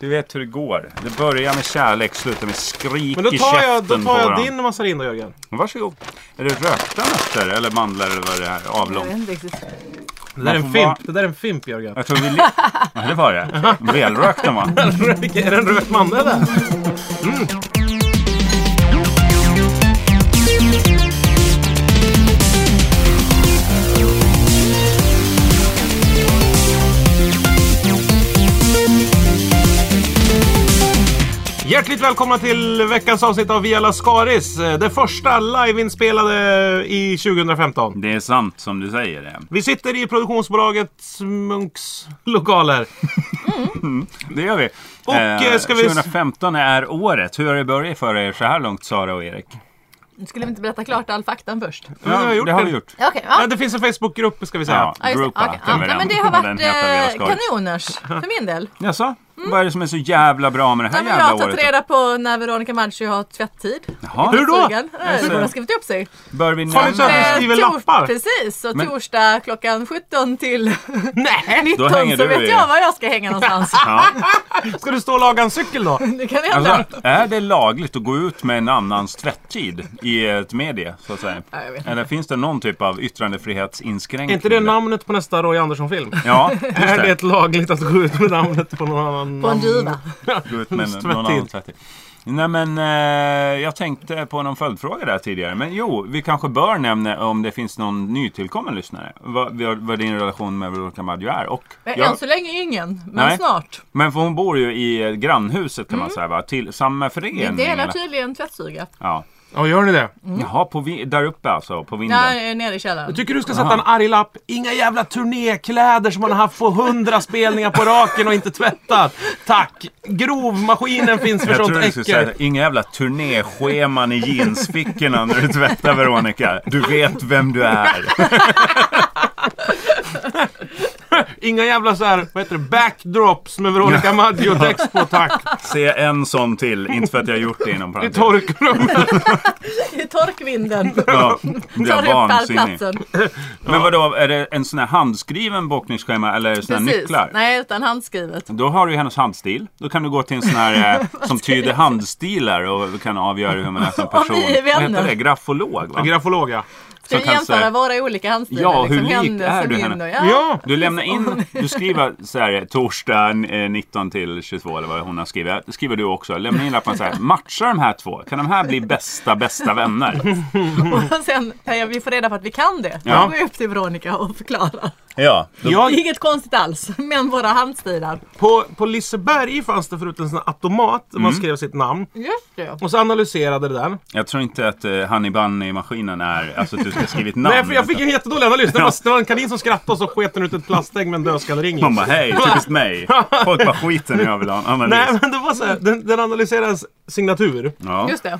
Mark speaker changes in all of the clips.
Speaker 1: Du vet hur det går. Det börjar med kärlek, slutar med skrik
Speaker 2: Men då
Speaker 1: i
Speaker 2: tar
Speaker 1: käften
Speaker 2: jag, då
Speaker 1: på
Speaker 2: tar jag
Speaker 1: varandra.
Speaker 2: din mazarinda Jörgen.
Speaker 1: Varsågod. Är det rökta nötter eller mandlar eller vad det är?
Speaker 3: Jag vet
Speaker 1: Avlång.
Speaker 3: inte riktigt.
Speaker 2: Det där är en
Speaker 1: Man får vara-
Speaker 2: fimp, det där är en fimp Jörgen.
Speaker 1: Jag tror vi... li- Ja, det var det. Välrökt den va?
Speaker 2: är det en röd mandel där? Mm. Hjärtligt välkomna till veckans avsnitt av Via Lascaris. eh, Det första liveinspelade i 2015.
Speaker 1: Det är sant som du säger det.
Speaker 2: Vi sitter i produktionsbolaget Munks lokaler.
Speaker 1: Det gör vi.
Speaker 2: Och, eh, ska vi-
Speaker 1: 2015 är året. Hur har det börjat för er så här långt Sara och Erik?
Speaker 3: Nu skulle vi inte berätta klart all faktan först.
Speaker 2: vi har gjort
Speaker 1: det har
Speaker 2: det.
Speaker 1: vi gjort.
Speaker 3: Ja, Okej,
Speaker 2: Ja,
Speaker 3: ja.
Speaker 2: det finns en Facebookgrupp ska vi säga.
Speaker 1: Ja,
Speaker 3: Ja, just det.
Speaker 1: Groupa
Speaker 3: Okej, ja.
Speaker 1: heter
Speaker 3: Nej,
Speaker 1: den.
Speaker 3: men det har
Speaker 1: Och den
Speaker 3: varit
Speaker 1: heter Vela
Speaker 3: eh,
Speaker 1: Skog.
Speaker 3: kanoners för min del.
Speaker 1: Jaså?
Speaker 2: Mm.
Speaker 1: Vad är det som är så jävla bra med det här
Speaker 3: Nej, men jag
Speaker 1: jävla
Speaker 3: har tagit
Speaker 1: året?
Speaker 3: reda på när Veronica Maggio har tvätttid.
Speaker 1: Jaha.
Speaker 2: Hur då?
Speaker 3: Stugan. Eh, Hon har skrivit upp sig.
Speaker 1: Bör vi
Speaker 2: Fan,
Speaker 1: nämna?
Speaker 2: det är så- skriver
Speaker 3: Eh,
Speaker 2: lappar.
Speaker 3: Precis, så
Speaker 1: Men-
Speaker 3: torsdag klockan 17 till 19
Speaker 2: Nej!
Speaker 1: Då hänger
Speaker 3: så
Speaker 1: du i.
Speaker 3: vet jag var jag ska hänga någonstans.
Speaker 1: Ja.
Speaker 2: Ska du stå och laga en cykel då?
Speaker 3: Det kan hända.
Speaker 1: Alltså, är det lagligt att gå ut med en annans tvättid i ett medie? Så att säga?
Speaker 3: Ja, jag vet inte.
Speaker 1: Eller finns det någon typ av yttrandefrihetsinskränkning?
Speaker 2: Är inte det
Speaker 1: där?
Speaker 2: namnet på nästa Roy Andersson-film?
Speaker 1: Ja, just
Speaker 2: Är
Speaker 1: det.
Speaker 2: det lagligt att gå ut med namnet på någon annan?
Speaker 3: På en diva.
Speaker 1: Gå ut med någon
Speaker 2: Tvättid.
Speaker 1: annan tvättid. Nej men eh, jag tänkte på någon följdfråga där tidigare. Men jo, vi kanske bör nämna om det finns någon nytillkommen lyssnare. Vad, vad- vad din relation med Veronica Maggio är. Och
Speaker 3: Men alltså-
Speaker 1: jag-
Speaker 3: Än så länge ingen, men
Speaker 1: Nej.
Speaker 3: snart.
Speaker 1: men för hon bor ju i grannhuset kan man säga va? Till samma
Speaker 3: Vi
Speaker 1: förening.
Speaker 3: Mm. delar
Speaker 1: eller?
Speaker 3: tydligen tvättstuga.
Speaker 1: Ja,
Speaker 2: Ja, gör ni det?
Speaker 1: Jaha, på, vi- där uppe alltså, på vinden.
Speaker 3: Nej, nere i källaren.
Speaker 2: Jag Mm. tycker du ska sätta en arg lapp. Inga jävla turnékläder som man har haft på hundra spelningar på raken och inte tvättat. Tack! Grovmaskinen finns för
Speaker 1: Jag
Speaker 2: sånt
Speaker 1: tror du skulle säga
Speaker 2: äckel.
Speaker 1: att inga jävla turnéscheman i jeansfickorna när du tvättar Veronica. Du vet vem du är.
Speaker 2: Inga jävla så här, vad heter det, backdrops med Veronica Maggio text på, tack.
Speaker 1: Se en sån till. Inte för att jag har gjort det inom
Speaker 2: I
Speaker 1: parentes.
Speaker 2: torkrummet.
Speaker 3: I torkvinden.
Speaker 1: Ja, det
Speaker 3: Tar
Speaker 1: är
Speaker 3: du upp
Speaker 1: vansinnigt.
Speaker 3: pallplatsen.
Speaker 1: Men vadå, är det en sån här handskriven bokningsschema eller är det såna här
Speaker 3: Precis.
Speaker 1: nycklar?
Speaker 3: Nej, utan handskrivet.
Speaker 1: Då har du ju hennes handstil. Då kan du gå till en sån här eh, som tyder handstilar och kan avgöra hur man är som
Speaker 3: Om
Speaker 1: person.
Speaker 3: vi är
Speaker 1: Vad heter
Speaker 3: vänner.
Speaker 1: det? Grafolog va?
Speaker 2: Grafolog ja.
Speaker 3: Ska
Speaker 1: Som
Speaker 3: vi
Speaker 1: kan
Speaker 3: jämföra
Speaker 1: säga-
Speaker 3: våra olika Liksom handstilar?
Speaker 1: Ja, hur lik
Speaker 3: hennes
Speaker 1: är
Speaker 3: och
Speaker 1: du
Speaker 3: min
Speaker 1: henne?
Speaker 3: och-
Speaker 2: Ja!
Speaker 1: Du lämnar in, du skriver så här, torsdag eh, 19 till 22 eller vad hon har skrivit. Det skriver du också. Lämna in lappen så här, matchar de här två? Kan de här bli bästa, bästa vänner?
Speaker 3: Och sen när vi får reda på att vi kan det,
Speaker 1: Ja.
Speaker 3: då går vi upp till Veronica och förklarar.
Speaker 1: Ja.
Speaker 2: Jag,
Speaker 3: Inget konstigt alls, men våra handstilar.
Speaker 2: På, på Liseberg fanns det förut en sån här automat där man skrev sitt namn.
Speaker 3: Just det.
Speaker 2: Och så analyserade det den.
Speaker 1: Jag tror inte att eh, Honey Bunny-maskinen är, alltså att du ska ha skrivit namn.
Speaker 2: Nej, för jag fick
Speaker 1: utan-
Speaker 2: en jättedålig analys. Det var, det var en kanin som skrattade och så sket den ut ett plastägg med en dödskallering. i.
Speaker 1: Hon bara, hej, typiskt mig. Folk bara, skiten jag vill ha en analys.
Speaker 2: Nej men det var så här, den, den analyserade ens signatur.
Speaker 1: Ja.
Speaker 3: Just det.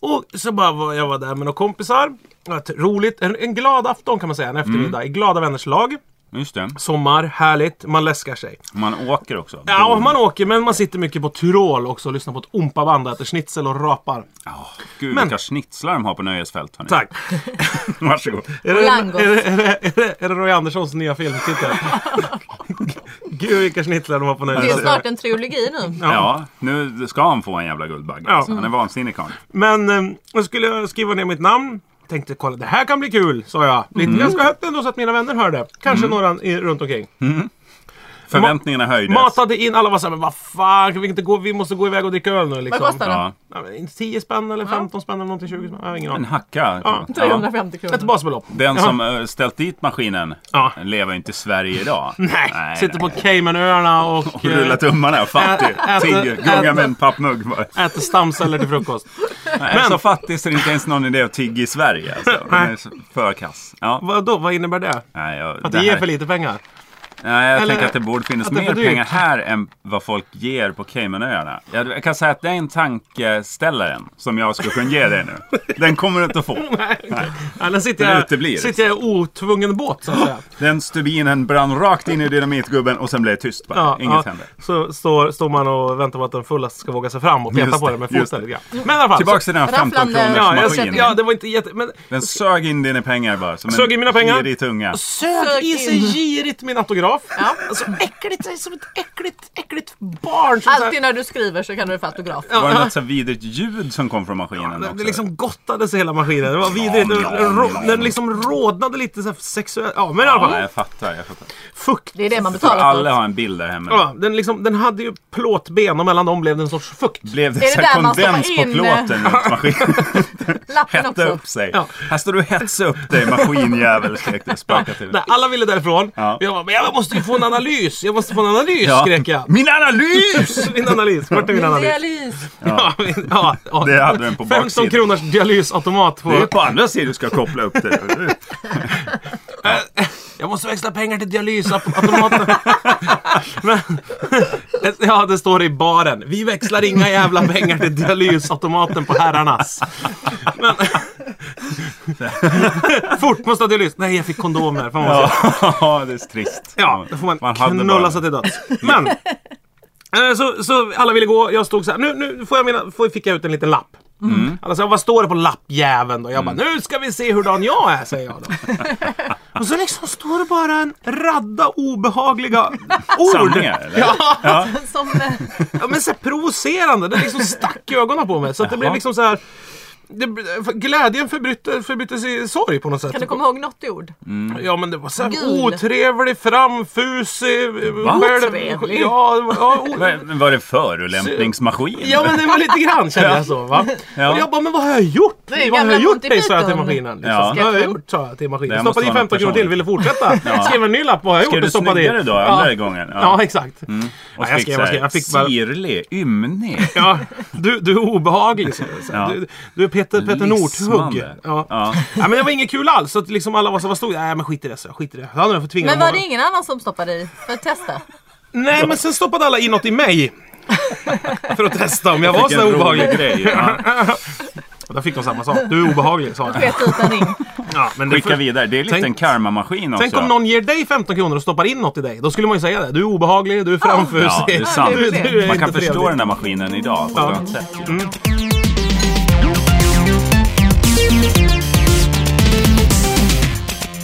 Speaker 2: Och så bara var jag var där med några kompisar. Det var ett Roligt, en, en glad afton kan man säga, en eftermiddag i glada vänners lag.
Speaker 1: Just det.
Speaker 2: Sommar, härligt, man läskar sig.
Speaker 1: Man åker också.
Speaker 2: Ja, man åker men man sitter mycket på Tyrol också och lyssnar på ett ompaband, äter schnitzel och rapar.
Speaker 1: Gud, vilka schnitzlar de har på nöjesfält. Hörni.
Speaker 2: Tack!
Speaker 1: Varsågod.
Speaker 2: Är det, är,
Speaker 3: Langos.
Speaker 2: det, är, det, är, det, är det Roy Anderssons nya filmtitel? Gud vilka schnittlar de har på
Speaker 3: Det är
Speaker 1: Alltså,
Speaker 3: ju
Speaker 2: nöjesfältet.
Speaker 3: snart en trilogi nu.
Speaker 1: Ja. nu ska han få en jävla Guldbagge.
Speaker 2: Ja.
Speaker 1: Alltså, han är vansinnig karl.
Speaker 2: Men eh, jag skulle jag skriva ner mitt namn. Tänkte kolla, det här kan bli kul, sa jag. Lite ganska högt ändå så att mina vänner hörde. Kanske några i, runt omkring.
Speaker 1: Förväntningarna
Speaker 2: Mm.
Speaker 1: höjdes.
Speaker 2: Matade in, alla var såhär, men vad fan, kan vi, inte gå, vi måste gå iväg och dricka öl nu
Speaker 3: Vad
Speaker 2: liksom.
Speaker 3: kostar det?
Speaker 1: Ja.
Speaker 2: Ja, men 10 spänn eller 15 spänn eller någonting, 20 spänn. Jag har ingen
Speaker 1: En
Speaker 2: aning.
Speaker 1: hacka.
Speaker 2: Ja.
Speaker 3: 350
Speaker 2: Ett
Speaker 3: kronor.
Speaker 2: basbelopp.
Speaker 1: Den som eh, ställt dit maskinen
Speaker 2: Ja.
Speaker 1: lever inte i Sverige idag.
Speaker 2: Nej, sitter på Caymanöarna och,
Speaker 1: Och rullar tummarna. Fattig.
Speaker 2: Ä- äter-
Speaker 1: Tigger. Gungar med en pappmugg bara.
Speaker 2: eh, äter stamceller till frukost.
Speaker 1: Nej,
Speaker 2: Men-
Speaker 1: Så fattig så det är inte ens någon idé att tigga i Sverige. Alltså. Den är så- För kass. Ja.
Speaker 2: Vadå, vad innebär det?
Speaker 1: Nej, jag,
Speaker 2: Att det ger för lite pengar?
Speaker 1: Nej, jag
Speaker 2: Eller-
Speaker 1: tänker att det borde finnas
Speaker 2: att det är
Speaker 1: mer
Speaker 2: för dyrt.
Speaker 1: pengar här än vad folk ger på Caymanöarna. Jag, jag kan säga att det är en tankeställaren som jag skulle kunna ge dig nu. Den kommer du inte att få.
Speaker 2: Eller sitter
Speaker 1: Den
Speaker 2: jag,
Speaker 1: uteblir. liksom.
Speaker 2: sitter jag i otvungen båt så att säga.
Speaker 1: Den stubinen brann rakt in i dynamitgubben och sen blev det tyst bara. Inget hände.
Speaker 2: Så står, står man och väntar på att den fullaste ska våga sig fram och peta
Speaker 1: Just
Speaker 2: på
Speaker 1: det,
Speaker 2: den med
Speaker 1: just
Speaker 2: foten. Ja. Men i alla fall.
Speaker 1: Tillbaks
Speaker 2: så,
Speaker 1: till den här
Speaker 3: Rafflande.
Speaker 1: 15 kronors
Speaker 2: ja, jag
Speaker 1: maskinen.
Speaker 2: kände, ja, det var inte jätte... Men
Speaker 1: Den sög in dina pengar bara. Som
Speaker 2: Sög
Speaker 1: en
Speaker 2: in mina pengar.
Speaker 1: girig tunga.
Speaker 2: sög i sig girigt min autograf. fotograf.
Speaker 3: Ja.
Speaker 2: Alltså äckligt, det är som ett äckligt, äckligt barn. Som så här-
Speaker 3: Alltid när du skriver så kan du vara fotograf.
Speaker 1: Var det något så vidrigt ljud som kom från maskinen
Speaker 2: Det,
Speaker 1: också?
Speaker 2: det liksom gottades i hela maskinen. Det var vidrigt. Den,
Speaker 1: ja, ja.
Speaker 2: den liksom rodnade lite så här sexuellt. Ja, men i alla
Speaker 1: Ja,
Speaker 2: fall.
Speaker 1: jag fattar. Jag fattar.
Speaker 2: Fukt.
Speaker 3: Det är det man
Speaker 1: Jag tror
Speaker 3: betalar för.
Speaker 1: alla har en bild där hemma.
Speaker 2: Ja, den, liksom, den hade ju plåtben och mellan dem blev det en sorts fukt.
Speaker 1: Blev det,
Speaker 3: Är det
Speaker 1: så här
Speaker 3: där man stoppar
Speaker 1: kondens på
Speaker 3: in-
Speaker 1: plåten runt maskinen?
Speaker 3: Lappen
Speaker 1: Hetta
Speaker 3: också.
Speaker 1: upp sig.
Speaker 2: Ja.
Speaker 1: Här står du och hetsar upp dig maskinjävel, skrek du och sparkade till.
Speaker 2: Där alla ville därifrån.
Speaker 1: Ja.
Speaker 2: Jag bara, men jag måste ju få en analys. Jag måste få en analys,
Speaker 1: Ja.
Speaker 2: skrek jag.
Speaker 1: Min analys!
Speaker 2: Min analys. Vart är min analys?
Speaker 3: Dialys.
Speaker 2: Ja, ja, ja.
Speaker 1: Det hade den på
Speaker 2: 15
Speaker 1: baksidan.
Speaker 2: kronors dialysautomat
Speaker 1: Det är
Speaker 2: på...
Speaker 1: på andra sidan du ska koppla upp det.
Speaker 2: Jag måste växla pengar till dialysautomaten. Men, ja, det står i baren. Vi växlar inga jävla pengar till dialysautomaten på herrarnas. Men, fort måste ha dialys. Nej, jag fick kondomer. Fan vad ja.
Speaker 1: Ja, det är trist.
Speaker 2: ja, då får man,
Speaker 1: hade
Speaker 2: knulla
Speaker 1: bara-
Speaker 2: sig till döds. Men, eh, så, så alla ville gå. Jag stod så här. Nu, nu får jag mina, får, fick jag ut en liten lapp.
Speaker 1: Mm.
Speaker 2: Alla sa, vad står det på lappjäveln då? Jag bara, nu ska vi se hurdan jag är, säger jag då. Och så liksom står det bara en radda obehagliga ord.
Speaker 1: Sanningar, eller?
Speaker 2: Ja,
Speaker 3: Som, eh,
Speaker 2: ja, men så här provocerande. Det liksom stack i ögonen på mig. Så att det blev
Speaker 1: Jaha.
Speaker 2: liksom så här. Det, glädjen förbytte- förbyttes i sorg på något sätt.
Speaker 3: kan du komma ihåg något ord?
Speaker 1: Mm.
Speaker 2: Ja men det var så här
Speaker 3: Gul.
Speaker 2: otrevlig, framfusig. själv-
Speaker 3: Otrevlig?
Speaker 2: Ja, det var- ja, o-
Speaker 1: Men var det förolämpningsmaskin?
Speaker 2: ja men det var lite grann kände jag så. Va?
Speaker 1: Ja.
Speaker 2: Och jag bara, men vad har jag gjort?
Speaker 3: Det är ju
Speaker 2: vad har
Speaker 3: gamla
Speaker 2: jag gjort
Speaker 3: Monty
Speaker 2: dig? Sa jag till
Speaker 3: Python.
Speaker 2: maskinen. Liksom.
Speaker 1: Ja.
Speaker 2: Vad har jag gjort? Sa jag till maskinen.
Speaker 1: Det här
Speaker 2: Stoppade
Speaker 1: måste
Speaker 2: in
Speaker 1: vara något
Speaker 2: 15 kronor till,
Speaker 1: personligt.
Speaker 2: ville fortsätta. Skrev en ny lapp, vad har jag gjort?
Speaker 1: Skrev du
Speaker 2: Och stoppade in.
Speaker 1: snyggare då,
Speaker 2: Ja.
Speaker 1: andra gången? Mm.
Speaker 2: Ja, exakt.
Speaker 1: Och
Speaker 2: jag
Speaker 1: fick
Speaker 2: skrev-
Speaker 1: så
Speaker 2: jag
Speaker 1: här,
Speaker 2: skrev- jag fick bara-
Speaker 1: Sirlig, ymnig.
Speaker 2: Ja, du, du är obehaglig. Så. Så
Speaker 1: Ja.
Speaker 2: Du, du är Peter, Peter Northugg.
Speaker 1: Lismande.
Speaker 2: Ja.
Speaker 1: Ja.
Speaker 2: Ja, men det var inget kul alls. Så att liksom alla var så, vad stod det? Nej men skit i det, så. skit i det. Jag hade nog fått tvinga
Speaker 3: Men
Speaker 2: dem
Speaker 3: var
Speaker 2: att-
Speaker 3: det
Speaker 1: Mm.
Speaker 3: ingen annan som stoppade i för att testa?
Speaker 2: Nej, men sen stoppade alla in något i mig. För att testa om jag var
Speaker 1: Vilken
Speaker 2: så obehaglig.
Speaker 1: rolig grej. Ja.
Speaker 2: Och Där fick de samma sak. Du är obehaglig, sa de.
Speaker 3: Sket ut en ring.
Speaker 2: Ja, men det
Speaker 1: Skicka vidare. Det är lite
Speaker 2: Tänk-
Speaker 1: en karmamaskin också.
Speaker 2: Tänk om någon ger dig 15 kronor och stoppar in något i dig. Då skulle man ju säga det. Du är obehaglig, du är framfusig.
Speaker 1: Ja, det är sant.
Speaker 2: Du, du är
Speaker 1: Man kan
Speaker 2: inte
Speaker 1: förstå
Speaker 2: trevlig.
Speaker 1: den här maskinen idag på
Speaker 2: Ja.
Speaker 1: ett annat sätt.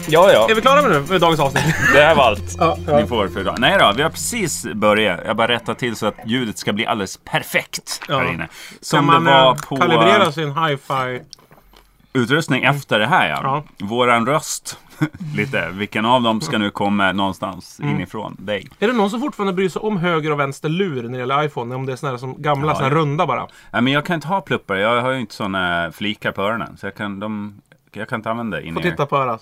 Speaker 1: Ja, ja.
Speaker 2: Är vi klara med, nu, med dagens avsnitt?
Speaker 1: Det här var allt
Speaker 2: Ja,
Speaker 1: ni får för idag. Nej då, vi har precis börjat. Jag bara rättar till så att ljudet ska bli alldeles perfekt här
Speaker 2: Ja.
Speaker 1: inne.
Speaker 2: Kan
Speaker 1: Som det
Speaker 2: man
Speaker 1: var
Speaker 2: eh,
Speaker 1: på
Speaker 2: kalibrera sin hi-fi?
Speaker 1: utrustning efter det här Mm. ja.
Speaker 2: Ja.
Speaker 1: Våran röst. Lite. Vilken av dem ska nu komma någonstans inifrån dig?
Speaker 2: Är det någon som fortfarande bryr sig om höger och vänster lur när det gäller iPhone? Om det är såna här som gamla,
Speaker 1: Ja,
Speaker 2: såna här
Speaker 1: ja.
Speaker 2: runda bara.
Speaker 1: Nej, men jag kan inte ha pluppar. Jag har ju inte såna flikar på öronen. Så jag kan, de, jag kan inte använda in
Speaker 2: Får titta på örat.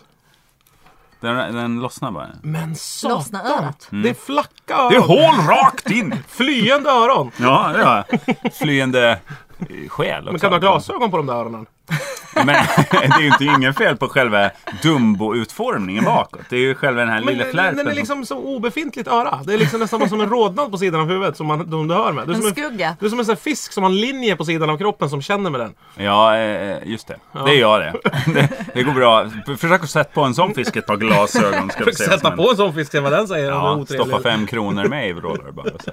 Speaker 1: den, den lossnar bara.
Speaker 2: Men
Speaker 3: Lossna
Speaker 2: satan!
Speaker 3: örat.
Speaker 2: Det är flacka
Speaker 1: Det är
Speaker 2: öron.
Speaker 1: hål rakt in!
Speaker 2: Flyende öron.
Speaker 1: Ja, det var flyende eh, själ också.
Speaker 2: Men kan du ha glasögon på de där öronen?
Speaker 1: Men det är ju inte inget fel på själva Dumbo-utformningen bakåt. Det är ju själva den här
Speaker 2: Men
Speaker 1: lilla
Speaker 2: den,
Speaker 1: flärpen.
Speaker 2: den är
Speaker 1: som-
Speaker 2: liksom så obefintligt öra. Det är liksom nästan som en rodnad på sidan av huvudet som man som du hör med. Du är
Speaker 3: En
Speaker 2: som
Speaker 3: skugga.
Speaker 2: Du är som en sån här fisk som har en linje på sidan av kroppen som känner med den.
Speaker 1: Ja, eh, just det. Det är jag det. det. Det går bra. Försök att sätta på en sån fisk ett par glasögon. Ska vi se vad som
Speaker 2: Sätta
Speaker 1: händer.
Speaker 2: på en sån fisk, se vad den säger. om den är
Speaker 1: Ja,
Speaker 2: otrevlig.
Speaker 1: stoppa fem kronor med i vrålar bara. Så.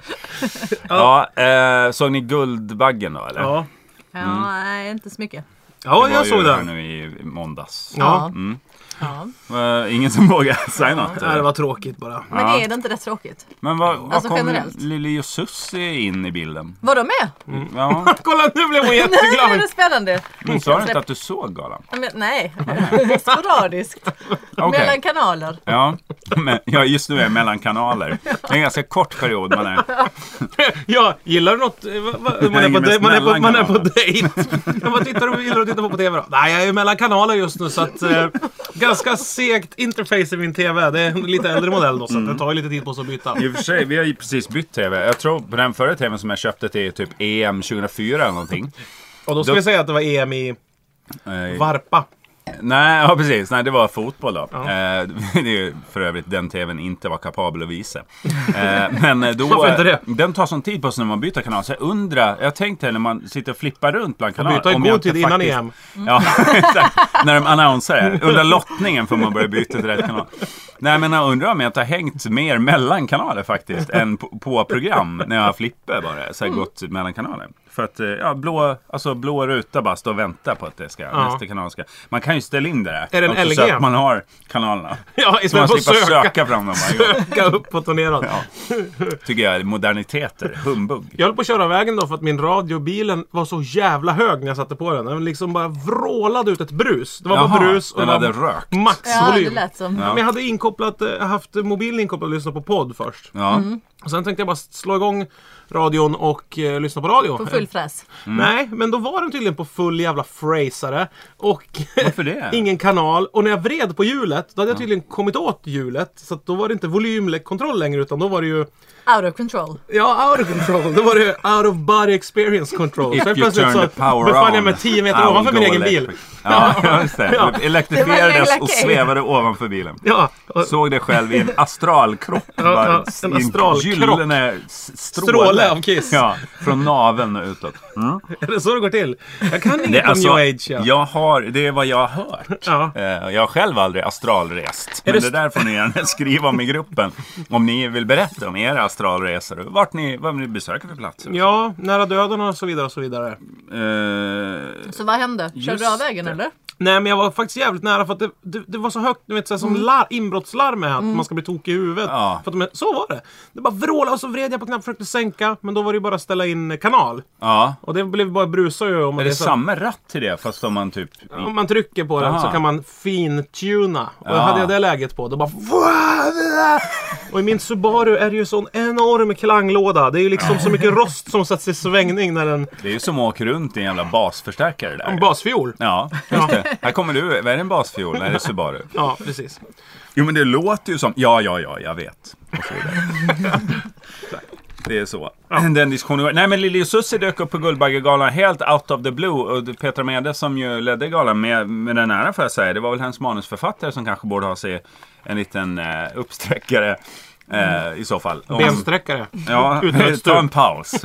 Speaker 1: Ja, eh, såg ni Guldbaggen då eller?
Speaker 2: Ja,
Speaker 1: Mm.
Speaker 3: Ja, nej, inte så mycket.
Speaker 2: ja
Speaker 1: Det var
Speaker 2: jag
Speaker 1: ju
Speaker 2: såg
Speaker 1: här
Speaker 2: den.
Speaker 1: nu i måndags.
Speaker 2: Ja.
Speaker 3: Mm. Ja.
Speaker 1: Eh, ingen som vågar säga något.
Speaker 2: Nej, det var tråkigt bara.
Speaker 3: Men
Speaker 1: Ja.
Speaker 3: är det inte rätt tråkigt?
Speaker 1: Men vad, vad
Speaker 3: Alltså,
Speaker 1: kom
Speaker 3: generellt.
Speaker 1: Lili och Susie in i bilden?
Speaker 3: Var de med?
Speaker 1: Ja,
Speaker 2: Kolla, nu blev hon
Speaker 3: Nej, det är
Speaker 2: jätteglad.
Speaker 3: det spännande.
Speaker 1: men sa du inte att du såg galan?
Speaker 3: Ja, Men, nej, sporadiskt.
Speaker 1: Okej.
Speaker 3: Mellan kanaler.
Speaker 1: Ja, men, ja, just nu är jag mellan kanaler. Det är en ganska kort period eh, man är.
Speaker 2: Ja, gillar du något? eh, va- va- Man är på,
Speaker 1: hänger
Speaker 2: de-
Speaker 1: mest
Speaker 2: man är på,
Speaker 1: mellan
Speaker 2: man är på
Speaker 1: kanalerna.
Speaker 2: dejt. Ja, Vad tittar du, gillar du att titta på på TV då? Nej, jag är mellan kanaler just nu så att eh, ganska segt interface i min TV. Det är en lite äldre modell då så
Speaker 1: Mm.
Speaker 2: att det tar ju lite tid på oss att byta.
Speaker 1: I och för sig, vi har ju precis bytt TV. Jag tror på den förra TVn som jag köpte till typ EM 2004 eller någonting.
Speaker 2: Och då ska
Speaker 1: Då-
Speaker 2: vi säga att det var EM i
Speaker 1: Eh,
Speaker 2: Varpa.
Speaker 1: nej, ja precis. Nej, det var fotboll då. Eh, det är ju för övrigt den TVn inte var kapabel att visa. Eh, men då...
Speaker 2: Varför inte det?
Speaker 1: Den tar sån tid på sig när man byter kanal. Så jag undrar, jag tänkte när man sitter och flippar runt bland kanaler.
Speaker 2: Byta i
Speaker 1: om jag
Speaker 2: god
Speaker 1: inte
Speaker 2: tid innan
Speaker 1: faktiskt-
Speaker 2: EM.
Speaker 1: Mm. Ja, exakt. När de annonserar det. Undrar lottningen får man börja byta till rätt kanal. Nej, men jag undrar om jag inte har hängt mer mellan kanaler faktiskt än på, på program när jag flipper bara.
Speaker 2: Mm.
Speaker 1: Så här gått mellan kanaler. För att eh, ja, blå, alltså, blå ruta bara står och väntar på att det ska, nästa kanal ska. Man kan ju ställ in det där.
Speaker 2: Är det en
Speaker 1: alltså, så
Speaker 2: LG?
Speaker 1: att man har kanalerna.
Speaker 2: Ja,
Speaker 1: Så man
Speaker 2: istället för att
Speaker 1: slipper söka,
Speaker 2: söka,
Speaker 1: fram dem varje gång.
Speaker 2: söka uppåt och neråt.
Speaker 1: Tycker jag är moderniteter, humbug.
Speaker 2: Jag höll på att köra av vägen då för att min radio i bilen var så jävla hög när jag satte på den. Den liksom bara vrålade ut ett brus. Det var
Speaker 1: Jaha,
Speaker 2: bara brus och
Speaker 1: den
Speaker 2: det var
Speaker 1: hade rökt.
Speaker 3: Ja, det
Speaker 2: maxvolym.
Speaker 3: lät som.
Speaker 2: Men jag hade inkopplat, eh, haft mobilen inkopplad och lyssnat på podd först.
Speaker 1: Ja.
Speaker 2: Och sen tänkte jag bara slå igång radion och eh, lyssna på radio.
Speaker 3: På full fräs.
Speaker 1: Mm.
Speaker 2: Nej, men då var den tydligen på full jävla frasare. Och
Speaker 1: Varför det?
Speaker 2: ingen kanal. Och när jag vred på hjulet, då hade jag tydligen kommit åt hjulet. Så att då var det inte volymkontroll längre utan då var det ju
Speaker 3: Out of control.
Speaker 2: Ja, out of control. Då var det out of body experience control.
Speaker 1: If
Speaker 2: Sen
Speaker 1: you
Speaker 2: plötsligt
Speaker 1: turn
Speaker 2: så
Speaker 1: the power
Speaker 2: befann jag
Speaker 1: on,
Speaker 2: mig 10 meter
Speaker 1: I
Speaker 2: ovanför
Speaker 1: will
Speaker 2: min
Speaker 1: go
Speaker 2: egen bil.
Speaker 1: electric. Ja, just det.
Speaker 2: Ja.
Speaker 1: Du
Speaker 3: Det var en
Speaker 1: Elektrifierades
Speaker 3: jävla
Speaker 1: och
Speaker 3: key.
Speaker 1: svävade ovanför bilen.
Speaker 2: Ja, och
Speaker 1: Såg dig själv i en astralkropp.
Speaker 2: Ja,
Speaker 1: bara
Speaker 2: ja, en
Speaker 1: i
Speaker 2: astralkropp.
Speaker 1: Gyllene s- stråle.
Speaker 2: Stråle av Kiss.
Speaker 1: Ja, från naveln och utåt. Mm.
Speaker 2: är det så det går till? Jag kan inget
Speaker 1: Det, är
Speaker 2: om
Speaker 1: alltså,
Speaker 2: new age. Ja.
Speaker 1: jag har, det är vad jag har hört.
Speaker 2: Ja.
Speaker 1: Eh, Jag har själv aldrig astralrest. Men
Speaker 2: det
Speaker 1: det,
Speaker 2: st-
Speaker 1: där får ni gärna skriva om i gruppen. Om ni vill berätta om era astralresor. och Vart ni, vad ni besöker för platser.
Speaker 2: ja, nära döden och så vidare och så vidare.
Speaker 1: Eh,
Speaker 3: Så vad hände? Körde
Speaker 1: Just
Speaker 3: du av vägen
Speaker 1: det.
Speaker 3: eller?
Speaker 2: Nej, men jag var faktiskt jävligt nära för att det, det, det var så högt, du vet så här, som lar, inbrottslarm är att man ska bli tokig i huvudet.
Speaker 1: Ja.
Speaker 2: För att de, är- så var det. Det bara vrålade och så vred jag på knappen försökte sänka. Men då var det ju bara att ställa in kanal.
Speaker 1: ja.
Speaker 2: Och det blev bara brusa ju. Om man
Speaker 1: Är det
Speaker 2: så-
Speaker 1: samma ratt till det fast om man typ...
Speaker 2: Om man trycker på den
Speaker 1: Aha.
Speaker 2: så kan man fintuna. Och
Speaker 1: Ja.
Speaker 2: hade jag det läget på då bara... Och i min Subaru är det ju sån enorm klanglåda. Det är ju liksom så mycket rost som sätts i svängning när den...
Speaker 1: Det är ju som att åka runt i en jävla basförstärkare där.
Speaker 2: En basfiol.
Speaker 1: Ja, just det. Här kommer du. Vad är det en basfiol? Nej, det är Subaru.
Speaker 2: Ja, precis.
Speaker 1: Jo, men det låter ju som... Ja, ja, ja, jag vet. Och så vidare. Det är så. Den diskussionen var... Nej, men Lili och Susie dök upp på Guldbaggegalan helt out of the blue. Och det- Petra Mede som ju ledde galan med, med den äran får jag säga. Det var väl hennes manusförfattare som kanske borde ha sig en liten eh, uppsträckare. Eh, I så fall. Om-
Speaker 2: Bensträckare.
Speaker 1: Ja,
Speaker 2: Utan ett
Speaker 1: ta
Speaker 2: stup.
Speaker 1: en paus.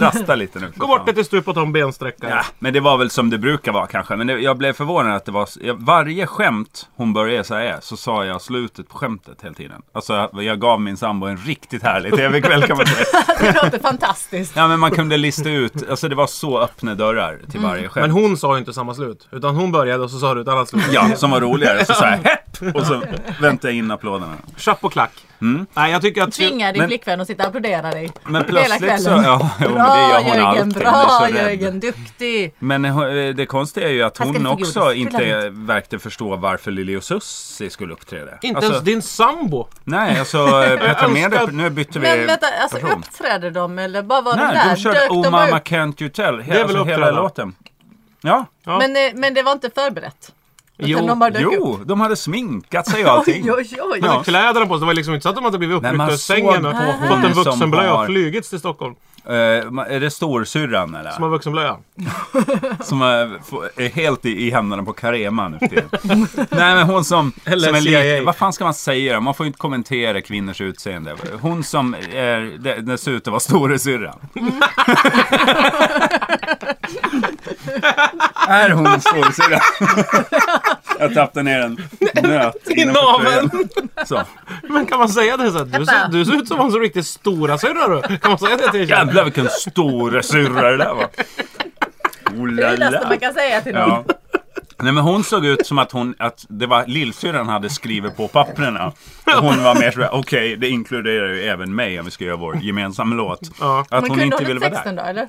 Speaker 1: Rasta lite nu.
Speaker 2: Gå bort ett i stup och ta en bensträckare.
Speaker 1: Ja, men det var väl som det brukar vara kanske. Men det, jag blev förvånad att det var... s- jag- Varje skämt hon började säga så sa jag slutet på skämtet hela tiden. Alltså jag, jag gav min sambo en riktigt härlig tv-kväll kan man säga.
Speaker 3: Det låter fantastiskt.
Speaker 1: Ja men man kunde lista ut, alltså det var så öppna dörrar till varje skämt.
Speaker 2: Men hon sa ju inte samma slut. Utan hon började och så sa du ett annat slut.
Speaker 1: Ja, som var roligare. Så sa jag hepp! Och så väntade jag in applåderna.
Speaker 2: Chapp och klack.
Speaker 1: Mm.
Speaker 2: Nej, jag tycker att...
Speaker 3: Tvinga din
Speaker 1: Men-
Speaker 3: flickvän att sitta och applådera dig.
Speaker 1: Men
Speaker 3: Hela
Speaker 1: plötsligt så...
Speaker 3: kvällen.
Speaker 1: Ja, jo, men det
Speaker 3: Bra
Speaker 1: gör hon
Speaker 3: Jörgen,
Speaker 1: alltid. Hon
Speaker 3: bra
Speaker 1: är så rädd.
Speaker 3: Jörgen, duktig!
Speaker 1: Men eh, det konstiga är ju att
Speaker 3: Här ska
Speaker 1: hon
Speaker 3: du få
Speaker 1: också
Speaker 3: godis.
Speaker 1: inte
Speaker 3: Fylla
Speaker 1: verkte förstå varför Lili och Susie skulle uppträda.
Speaker 2: Inte
Speaker 1: Alltså-
Speaker 2: ens din sambo.
Speaker 1: Nej, alltså eh, Petra
Speaker 2: Jag
Speaker 1: Mede,
Speaker 2: önskar-
Speaker 1: nu byter vi
Speaker 3: Men vänta, alltså
Speaker 1: person.
Speaker 3: uppträdde de eller bara var de
Speaker 1: Nej,
Speaker 3: där?
Speaker 1: de körde
Speaker 3: Dök
Speaker 1: Oh
Speaker 3: bara
Speaker 1: mamma
Speaker 3: upp?
Speaker 1: can't you tell, he,
Speaker 2: är väl
Speaker 1: alltså, hela
Speaker 2: uppträda.
Speaker 1: låten. Ja,
Speaker 2: Ja.
Speaker 3: Men, eh, men det var inte förberett? Utan
Speaker 2: Jo,
Speaker 3: de bara dök upp?
Speaker 1: jo, de hade sminkat sig och allting.
Speaker 3: Oj, oj, oj!
Speaker 1: Ja.
Speaker 2: Kläderna på sig. Det var liksom inte så att de hade blivit
Speaker 1: Nej, man
Speaker 2: uppryckta
Speaker 1: såg
Speaker 2: ur sängen
Speaker 1: på hon
Speaker 2: och fått en
Speaker 1: som
Speaker 2: vuxenblöja
Speaker 1: har-
Speaker 2: och flugits till Stockholm.
Speaker 1: Eh, ma- är det storsyrran eller?
Speaker 2: Som har vuxenblöja.
Speaker 1: Som är, få- är helt i, i händerna på Carema nu för tiden. Nej men hon som...
Speaker 2: Eller
Speaker 1: som
Speaker 2: CIA.
Speaker 1: vad fan ska man säga då? Man får ju inte kommentera kvinnors utseende. Hon som är, det- dessutom var storasyrran. är hon storasyrran? Jag tappade ner en nöt
Speaker 2: I
Speaker 1: innanför
Speaker 2: naveln.
Speaker 1: tröjan. Så.
Speaker 2: Men kan man säga det så här, du, ser, du ser ut som en så riktigt stora syrra du. Kan man säga det till en tjej?
Speaker 1: Jävlar vilken storasyrra det där var. Oh,
Speaker 3: Det
Speaker 1: la,
Speaker 3: är det
Speaker 1: la.
Speaker 3: bästa man kan säga till någon.
Speaker 1: Ja. Nej men hon såg ut som att hon, att det var lillsyrran hade skrivit på papprena. Och hon var mer sådär, okej det inkluderar ju även mig om vi ska göra vår gemensamma låt.
Speaker 2: Ja.
Speaker 1: Att
Speaker 3: Men
Speaker 1: hon
Speaker 3: kunde
Speaker 1: inte
Speaker 3: hon
Speaker 1: ville
Speaker 3: inte
Speaker 1: vara
Speaker 3: texten
Speaker 1: där.
Speaker 3: då eller?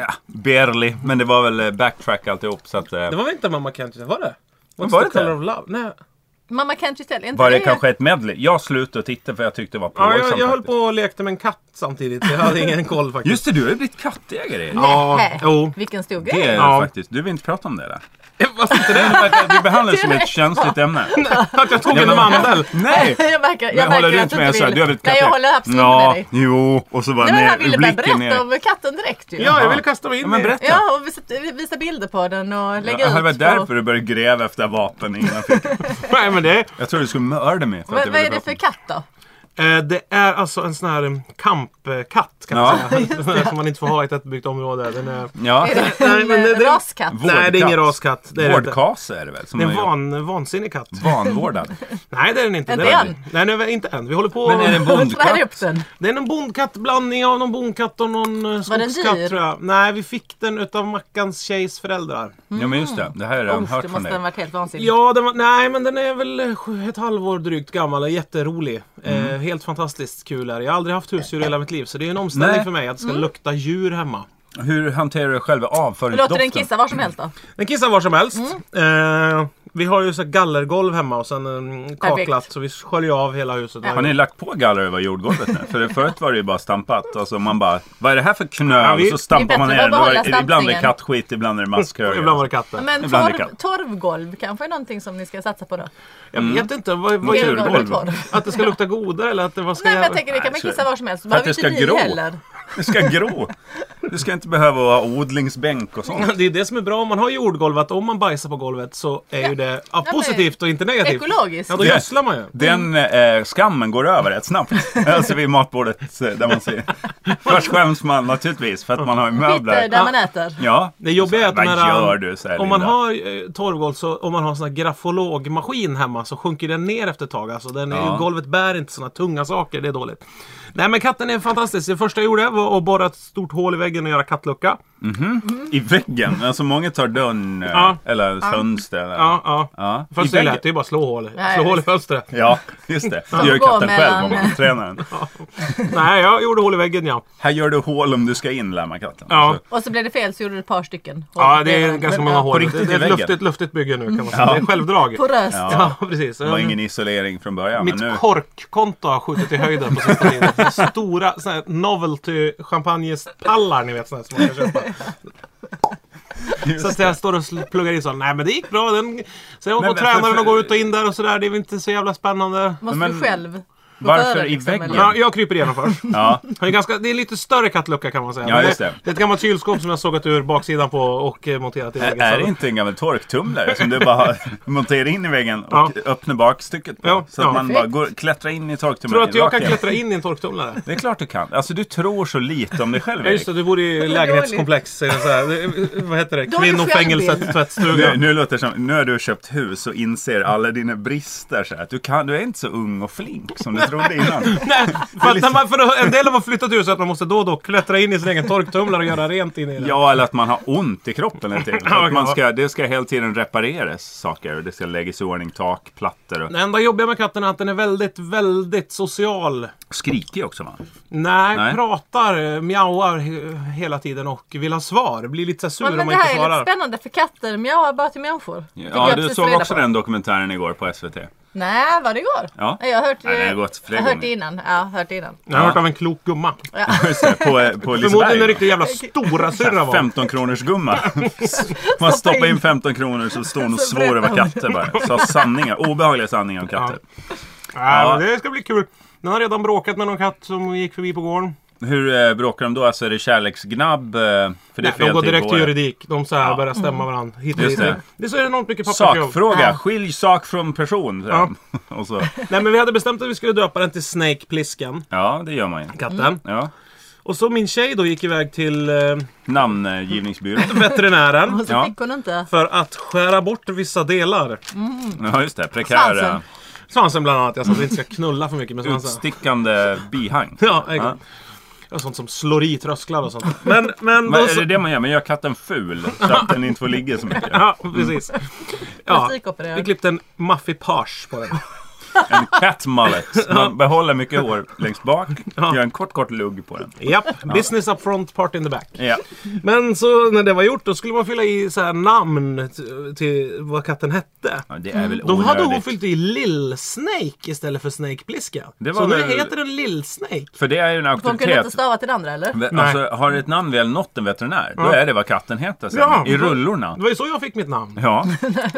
Speaker 1: Ja, barely, men det var väl eh, backtrack alltihop så att... eh,
Speaker 2: Det var väl inte Mamma Can't You, var det? What's
Speaker 1: Var
Speaker 2: var
Speaker 1: det
Speaker 2: the color
Speaker 1: det?
Speaker 2: of love? Nej.
Speaker 3: Mamma can't you tell? Inte
Speaker 1: Var det kanske ett medley? Jag slutade och tittade för jag tyckte det var
Speaker 2: Ja,
Speaker 1: plågsamt
Speaker 2: jag, jag höll
Speaker 1: faktiskt.
Speaker 2: på och lekte med en katt samtidigt. Jag hade ingen koll faktiskt.
Speaker 1: Just det, du har ju blivit kattägare Erik.
Speaker 2: Ja,
Speaker 3: Nej.
Speaker 2: jo.
Speaker 3: Vilken stor
Speaker 1: Det
Speaker 3: grej!
Speaker 1: är
Speaker 2: Ja.
Speaker 1: det faktiskt. Du vill inte prata om det eller?
Speaker 2: Varför inte det?
Speaker 1: Vi behandlar det som ett känsligt ämne.
Speaker 2: Att jag tog
Speaker 1: Ja,
Speaker 2: en
Speaker 1: men-
Speaker 2: mandel.
Speaker 1: Nej!
Speaker 3: jag märker, jag
Speaker 1: Men håller
Speaker 3: märker
Speaker 1: du
Speaker 3: att
Speaker 1: inte
Speaker 3: du
Speaker 1: med
Speaker 3: inte
Speaker 1: såhär,
Speaker 3: vill.
Speaker 1: du har blivit
Speaker 3: Nej, jag håller absolut med dig.
Speaker 1: Jo, och så bara
Speaker 3: Nej, men han ville bara
Speaker 1: blicken
Speaker 3: berätta
Speaker 1: ner.
Speaker 3: om katten direkt ju.
Speaker 2: Ja, jag
Speaker 1: Jaha.
Speaker 2: ville kasta mig in
Speaker 1: Ja, men
Speaker 2: i-
Speaker 1: berätta.
Speaker 3: Ja, och visa, visa bilder på den och lägga
Speaker 1: Ja,
Speaker 3: ut.
Speaker 1: det var
Speaker 3: på-
Speaker 1: därför du började gräva efter vapen innan jag fick
Speaker 2: Nej men det...
Speaker 1: Jag trodde du skulle mörda mig. För
Speaker 3: Vad,
Speaker 1: jag
Speaker 3: vad är
Speaker 1: ville
Speaker 3: det
Speaker 1: få-
Speaker 3: för katt då?
Speaker 2: Eh, det är alltså en sån här eh, kampkatt kan
Speaker 1: Ja.
Speaker 2: man säga. Den här som man inte får ha i ett tättbebyggt område. Den är...
Speaker 1: Ja.
Speaker 3: Är det
Speaker 2: Nej,
Speaker 3: en
Speaker 2: men det-
Speaker 3: eh,
Speaker 2: det-
Speaker 3: raskatt?
Speaker 1: Vårdkatt.
Speaker 2: Nej, det är ingen raskatt. Det är det inte.
Speaker 1: Vårdkase är det väl? Som
Speaker 2: Det är en
Speaker 1: har gjort-
Speaker 2: van, vansinnig katt.
Speaker 1: vanvårdad.
Speaker 2: Nej, det är den inte.
Speaker 3: Inte
Speaker 2: Den är-
Speaker 3: än.
Speaker 2: Nej, nu är vi- inte än. Vi håller på...
Speaker 1: Men är det en
Speaker 3: Öppnar
Speaker 1: bondkatt?
Speaker 3: upp den.
Speaker 2: Det är en bondkatt, blandning av någon bondkatt och någon eh,
Speaker 3: Var den dyr?
Speaker 2: skogskatt tror jag. Nej, vi fick den utav Mackans tjejs föräldrar.
Speaker 1: Ja men just det, det här har jag redan
Speaker 3: Uff,
Speaker 1: hört
Speaker 3: det
Speaker 1: från
Speaker 3: måste
Speaker 1: dig.
Speaker 3: ha varit helt vansinnigt.
Speaker 2: Ja, den var, nej men den är väl eh, sju- ett halvår drygt gammal. och Jätterolig. Eh, helt fantastiskt kul är det. Jag har aldrig haft husdjur i hela mitt liv så det är en omställning
Speaker 1: Nej.
Speaker 2: för mig att det ska lukta djur hemma.
Speaker 1: Hur hanterar du själva
Speaker 3: Låter den
Speaker 1: avföringsdoften?
Speaker 3: kissa var som helst då?
Speaker 2: Den kissar var som helst. Eh, vi har ju så här gallergolv hemma och sen mm, kaklat
Speaker 3: Perfekt.
Speaker 2: så vi sköljer av hela huset.
Speaker 1: Har ni lagt på galler över jordgolvet nu? För förut var det ju bara stampat. Alltså man bara, vad är det här för
Speaker 2: Ja,
Speaker 1: knöl?
Speaker 2: vi-
Speaker 1: Så stampar
Speaker 3: det är
Speaker 1: man
Speaker 3: bättre
Speaker 1: ner
Speaker 3: att behålla
Speaker 1: det. Ibland är det
Speaker 3: stampningen.
Speaker 1: kattskit, ibland är det maskhögar.
Speaker 2: Ibland var det katten.
Speaker 3: Men
Speaker 1: Ibland är det
Speaker 3: torv,
Speaker 1: kallt.
Speaker 3: torvgolv kanske är någonting som ni ska satsa på då?
Speaker 2: Jag vet inte. Vad, vad
Speaker 1: Naturgolv.
Speaker 2: är det?
Speaker 3: Torv, torv.
Speaker 2: Att det ska lukta godare eller att det vad ska
Speaker 3: Nej men jag
Speaker 2: jag-
Speaker 3: tänker det kan man kissa var som helst.
Speaker 1: För att
Speaker 3: Behöver
Speaker 1: det ska
Speaker 3: inte ni
Speaker 1: gro.
Speaker 3: heller.
Speaker 1: Du ska gro. Du ska inte behöva ha odlingsbänk och sånt.
Speaker 2: Det är det som är bra om man har jordgolv, att om man bajsar på golvet så är ju det ja,
Speaker 3: men-
Speaker 2: positivt och inte negativt.
Speaker 3: Ekologiskt.
Speaker 2: Ja, då
Speaker 1: Det-
Speaker 2: gödslar man ju.
Speaker 1: Den eh, skammen går över rätt snabbt. Alltså vid matbordet eh, där man ser. Först skäms man naturligtvis för att man har
Speaker 3: Skiter
Speaker 1: möbler.
Speaker 3: där man äter.
Speaker 1: Ja.
Speaker 2: Det jobbiga är att
Speaker 1: Vad
Speaker 2: de här,
Speaker 1: gör du? Så här,
Speaker 2: om man
Speaker 1: Linda.
Speaker 2: har eh, torvgolv så om man har en sån här grafologmaskin hemma så sjunker den ner efter ett tag. Alltså den, är-
Speaker 1: Ja.
Speaker 2: Golvet bär inte såna tunga saker, det är dåligt. Nej men katten är fantastisk. Det första jag gjorde var att borra ett stort hål i väggen och göra kattlucka.
Speaker 1: I väggen? Alltså många tar dörren eh,
Speaker 2: Ja.
Speaker 1: eller fönster. Eller...
Speaker 2: Ja, ja.
Speaker 1: Ja. I
Speaker 2: Först så
Speaker 1: väggen.
Speaker 2: lät det ju bara slå hål.
Speaker 3: Nej,
Speaker 2: slå hål i
Speaker 3: visst.
Speaker 2: fönstret.
Speaker 1: Ja, just det. Det gör ju
Speaker 3: Gå
Speaker 1: katten själv
Speaker 3: mellan-
Speaker 1: om man tränar den.
Speaker 2: Nej, jag gjorde hål i väggen ja.
Speaker 1: Här gör du hål om du ska in, lär man katten. Alltså,
Speaker 2: Ja.
Speaker 1: Så-
Speaker 3: Och så blev det fel så gjorde du ett par stycken.
Speaker 2: Ja, det är
Speaker 3: Men,
Speaker 2: ganska
Speaker 3: ja,
Speaker 2: många hål.
Speaker 1: riktigt
Speaker 2: Det är
Speaker 1: i
Speaker 2: ett
Speaker 1: väggen.
Speaker 2: luftigt, luftigt bygge nu kan man säga. Det är självdrag.
Speaker 3: På röst.
Speaker 2: Ja, precis.
Speaker 1: Det var ingen isolering från början.
Speaker 2: Mitt
Speaker 1: men nu...
Speaker 2: korkkonto har skjutit i höjden på sista tiden. Stora såna här novelty champagnepallar ni vet såna här som man kan köpa. Så att jag står och sl- pluggar i så. Nej men det gick bra. Den... Så jag
Speaker 1: Men-
Speaker 2: håller på
Speaker 1: men-
Speaker 2: och tränar den
Speaker 1: för-
Speaker 2: och går ut och in där och sådär. Det är väl inte så jävla spännande.
Speaker 3: Måste
Speaker 1: Men-
Speaker 3: du själv gå
Speaker 1: Varför
Speaker 3: före,
Speaker 1: i
Speaker 3: liksom,
Speaker 1: väggen?
Speaker 3: eller?
Speaker 2: Ja, jag kryper igenom först.
Speaker 1: Ja.
Speaker 2: Det är, ganska, det är lite större kattlucka kan man säga.
Speaker 1: Ja,
Speaker 2: Men
Speaker 1: just det.
Speaker 2: det är ett gammalt kylskåp som jag sågat ur baksidan på och eh, monterat i
Speaker 1: Är- Är det
Speaker 2: väggen.
Speaker 1: inte en gammal torktumlare som du bara monterar in i väggen och
Speaker 2: Ja.
Speaker 1: öppnar bakstycket på?
Speaker 2: Ja,
Speaker 1: så att
Speaker 2: ja.
Speaker 1: man bara går, klättrar in i torktumlaren.
Speaker 2: Tror du att jag
Speaker 1: rakt
Speaker 2: kan
Speaker 1: igenom.
Speaker 2: klättra in i en torktumlare?
Speaker 1: Det är klart du kan. Alltså du tror så lite om dig själv
Speaker 2: Ja just
Speaker 1: Erik.
Speaker 2: det, du bor i lägenhetskomplex. Så här, det- vad heter det? Kvinnofängelset,
Speaker 1: Nu,
Speaker 2: tvättstugan.
Speaker 1: nu låter det som, nu har du köpt hus och inser alla dina brister så här. att Du, kan, du är inte så ung och flink som du trodde innan.
Speaker 2: Nej, för, att när man, för att en del har flyttat ut så att man måste då och då klättra in i sin egen torktumlare och göra rent in i den.
Speaker 1: Ja, eller att man har ont i kroppen eller till. Så
Speaker 2: Ja,
Speaker 1: att man
Speaker 2: ja.
Speaker 1: ska, det ska hela tiden repareras saker. och Det ska läggas i ordning tak, plattor och...
Speaker 2: Det enda jobbiga med katten är att den är väldigt, väldigt social.
Speaker 1: Skrikig också va?
Speaker 2: Nej,
Speaker 1: Nej.
Speaker 2: pratar, eh, mjauar he- hela tiden och vill ha svar. Blir lite så
Speaker 3: Ja,
Speaker 2: här sur
Speaker 3: men
Speaker 2: om man
Speaker 3: det
Speaker 2: inte
Speaker 3: här är lite
Speaker 2: svarar.
Speaker 3: spännande för katter mjauar bara till människor. Fick
Speaker 1: Ja,
Speaker 3: jag
Speaker 1: du
Speaker 3: precis
Speaker 1: såg
Speaker 3: reda
Speaker 1: också
Speaker 3: på.
Speaker 1: den dokumentären igår på SVT.
Speaker 3: Nej, var det igår?
Speaker 1: Ja.
Speaker 3: Jag har hört,
Speaker 1: Nej, den har
Speaker 3: eh,
Speaker 1: gått flera
Speaker 3: jag har hört
Speaker 1: gånger.
Speaker 3: det innan. Ja, jag har hört det innan.
Speaker 2: Jag har hört av en klok gumma.
Speaker 3: Ja.
Speaker 1: Just det, på, på Liseberg.
Speaker 2: Förmodligen en
Speaker 1: va?
Speaker 2: riktig jävla stora syrra var.
Speaker 1: 15 kronors gumma. Man stoppar in 15 kronor så står hon och
Speaker 3: Så
Speaker 1: svor över
Speaker 3: berättar
Speaker 1: katter bara. Så sanningar, obehagliga sanningar om katter.
Speaker 2: Ja, men det ska bli kul. Den har redan bråkat med någon katt som gick förbi på gården.
Speaker 1: Hur eh, bråkar de då? Alltså är det kärleksgnabb? Eh, för det är
Speaker 2: Nej,
Speaker 1: fel
Speaker 2: de går
Speaker 1: tid på
Speaker 2: direkt till
Speaker 1: året.
Speaker 2: juridik. De så här börjar stämma varandra. Hit och
Speaker 1: Just
Speaker 2: dit.
Speaker 1: det.
Speaker 2: Det. är så enormt mycket pappersjobb.
Speaker 1: Sakfråga,
Speaker 3: Ja.
Speaker 1: skilj sak från person.
Speaker 2: Ja.
Speaker 1: och så.
Speaker 2: Nej men vi hade bestämt att vi skulle döpa den till Snake Plisken.
Speaker 1: ja, det gör man ju.
Speaker 2: Katten.
Speaker 1: Ja.
Speaker 2: Och så min tjej då gick iväg till eh,
Speaker 1: Namngivningsbyrån.
Speaker 2: veterinären.
Speaker 3: Och så
Speaker 1: Ja.
Speaker 3: fick hon inte.
Speaker 2: För att skära bort vissa delar.
Speaker 1: Ja, just det. eh, Prekära,
Speaker 3: Svansen.
Speaker 2: Svansen bland annat. Jag sa att vi inte ska knulla för mycket med svansen.
Speaker 1: utstickande bihang.
Speaker 2: Ja, exakt. Ja. Sånt som slår i trösklar och sånt. Men, men,
Speaker 1: Men
Speaker 2: då
Speaker 1: är det
Speaker 2: så,
Speaker 1: det man gör? Man gör katten ful så att den inte får ligga så mycket.
Speaker 2: Ja, precis. Ja,
Speaker 3: Plastikopererad.
Speaker 2: vi klippte en maffipage på den.
Speaker 1: En cat mullet. Man behåller mycket hår längst bak.
Speaker 2: Ja.
Speaker 1: Gör en kort, kort lugg på den.
Speaker 2: Japp, business up front, part in the back.
Speaker 1: Ja.
Speaker 2: Men så när det var gjort då skulle man fylla i så här namn t- till vad katten hette.
Speaker 1: Ja, det är väl
Speaker 2: Då hade hon
Speaker 1: onödigt.
Speaker 2: fyllt i Lill-Snake istället för Snake Pliska.
Speaker 1: Det var
Speaker 2: så
Speaker 1: väl-
Speaker 2: nu heter den Lill-Snake.
Speaker 1: För det är ju en
Speaker 3: För hon kunde inte
Speaker 1: auktoritet.
Speaker 3: stava till den andra eller?
Speaker 1: Ve-
Speaker 2: Nej.
Speaker 1: Alltså, har ett namn väl nått en veterinär, då
Speaker 2: Ja.
Speaker 1: är det vad katten heter sen.
Speaker 2: Ja.
Speaker 1: I rullorna.
Speaker 2: Det var ju så jag fick mitt namn.
Speaker 1: Ja,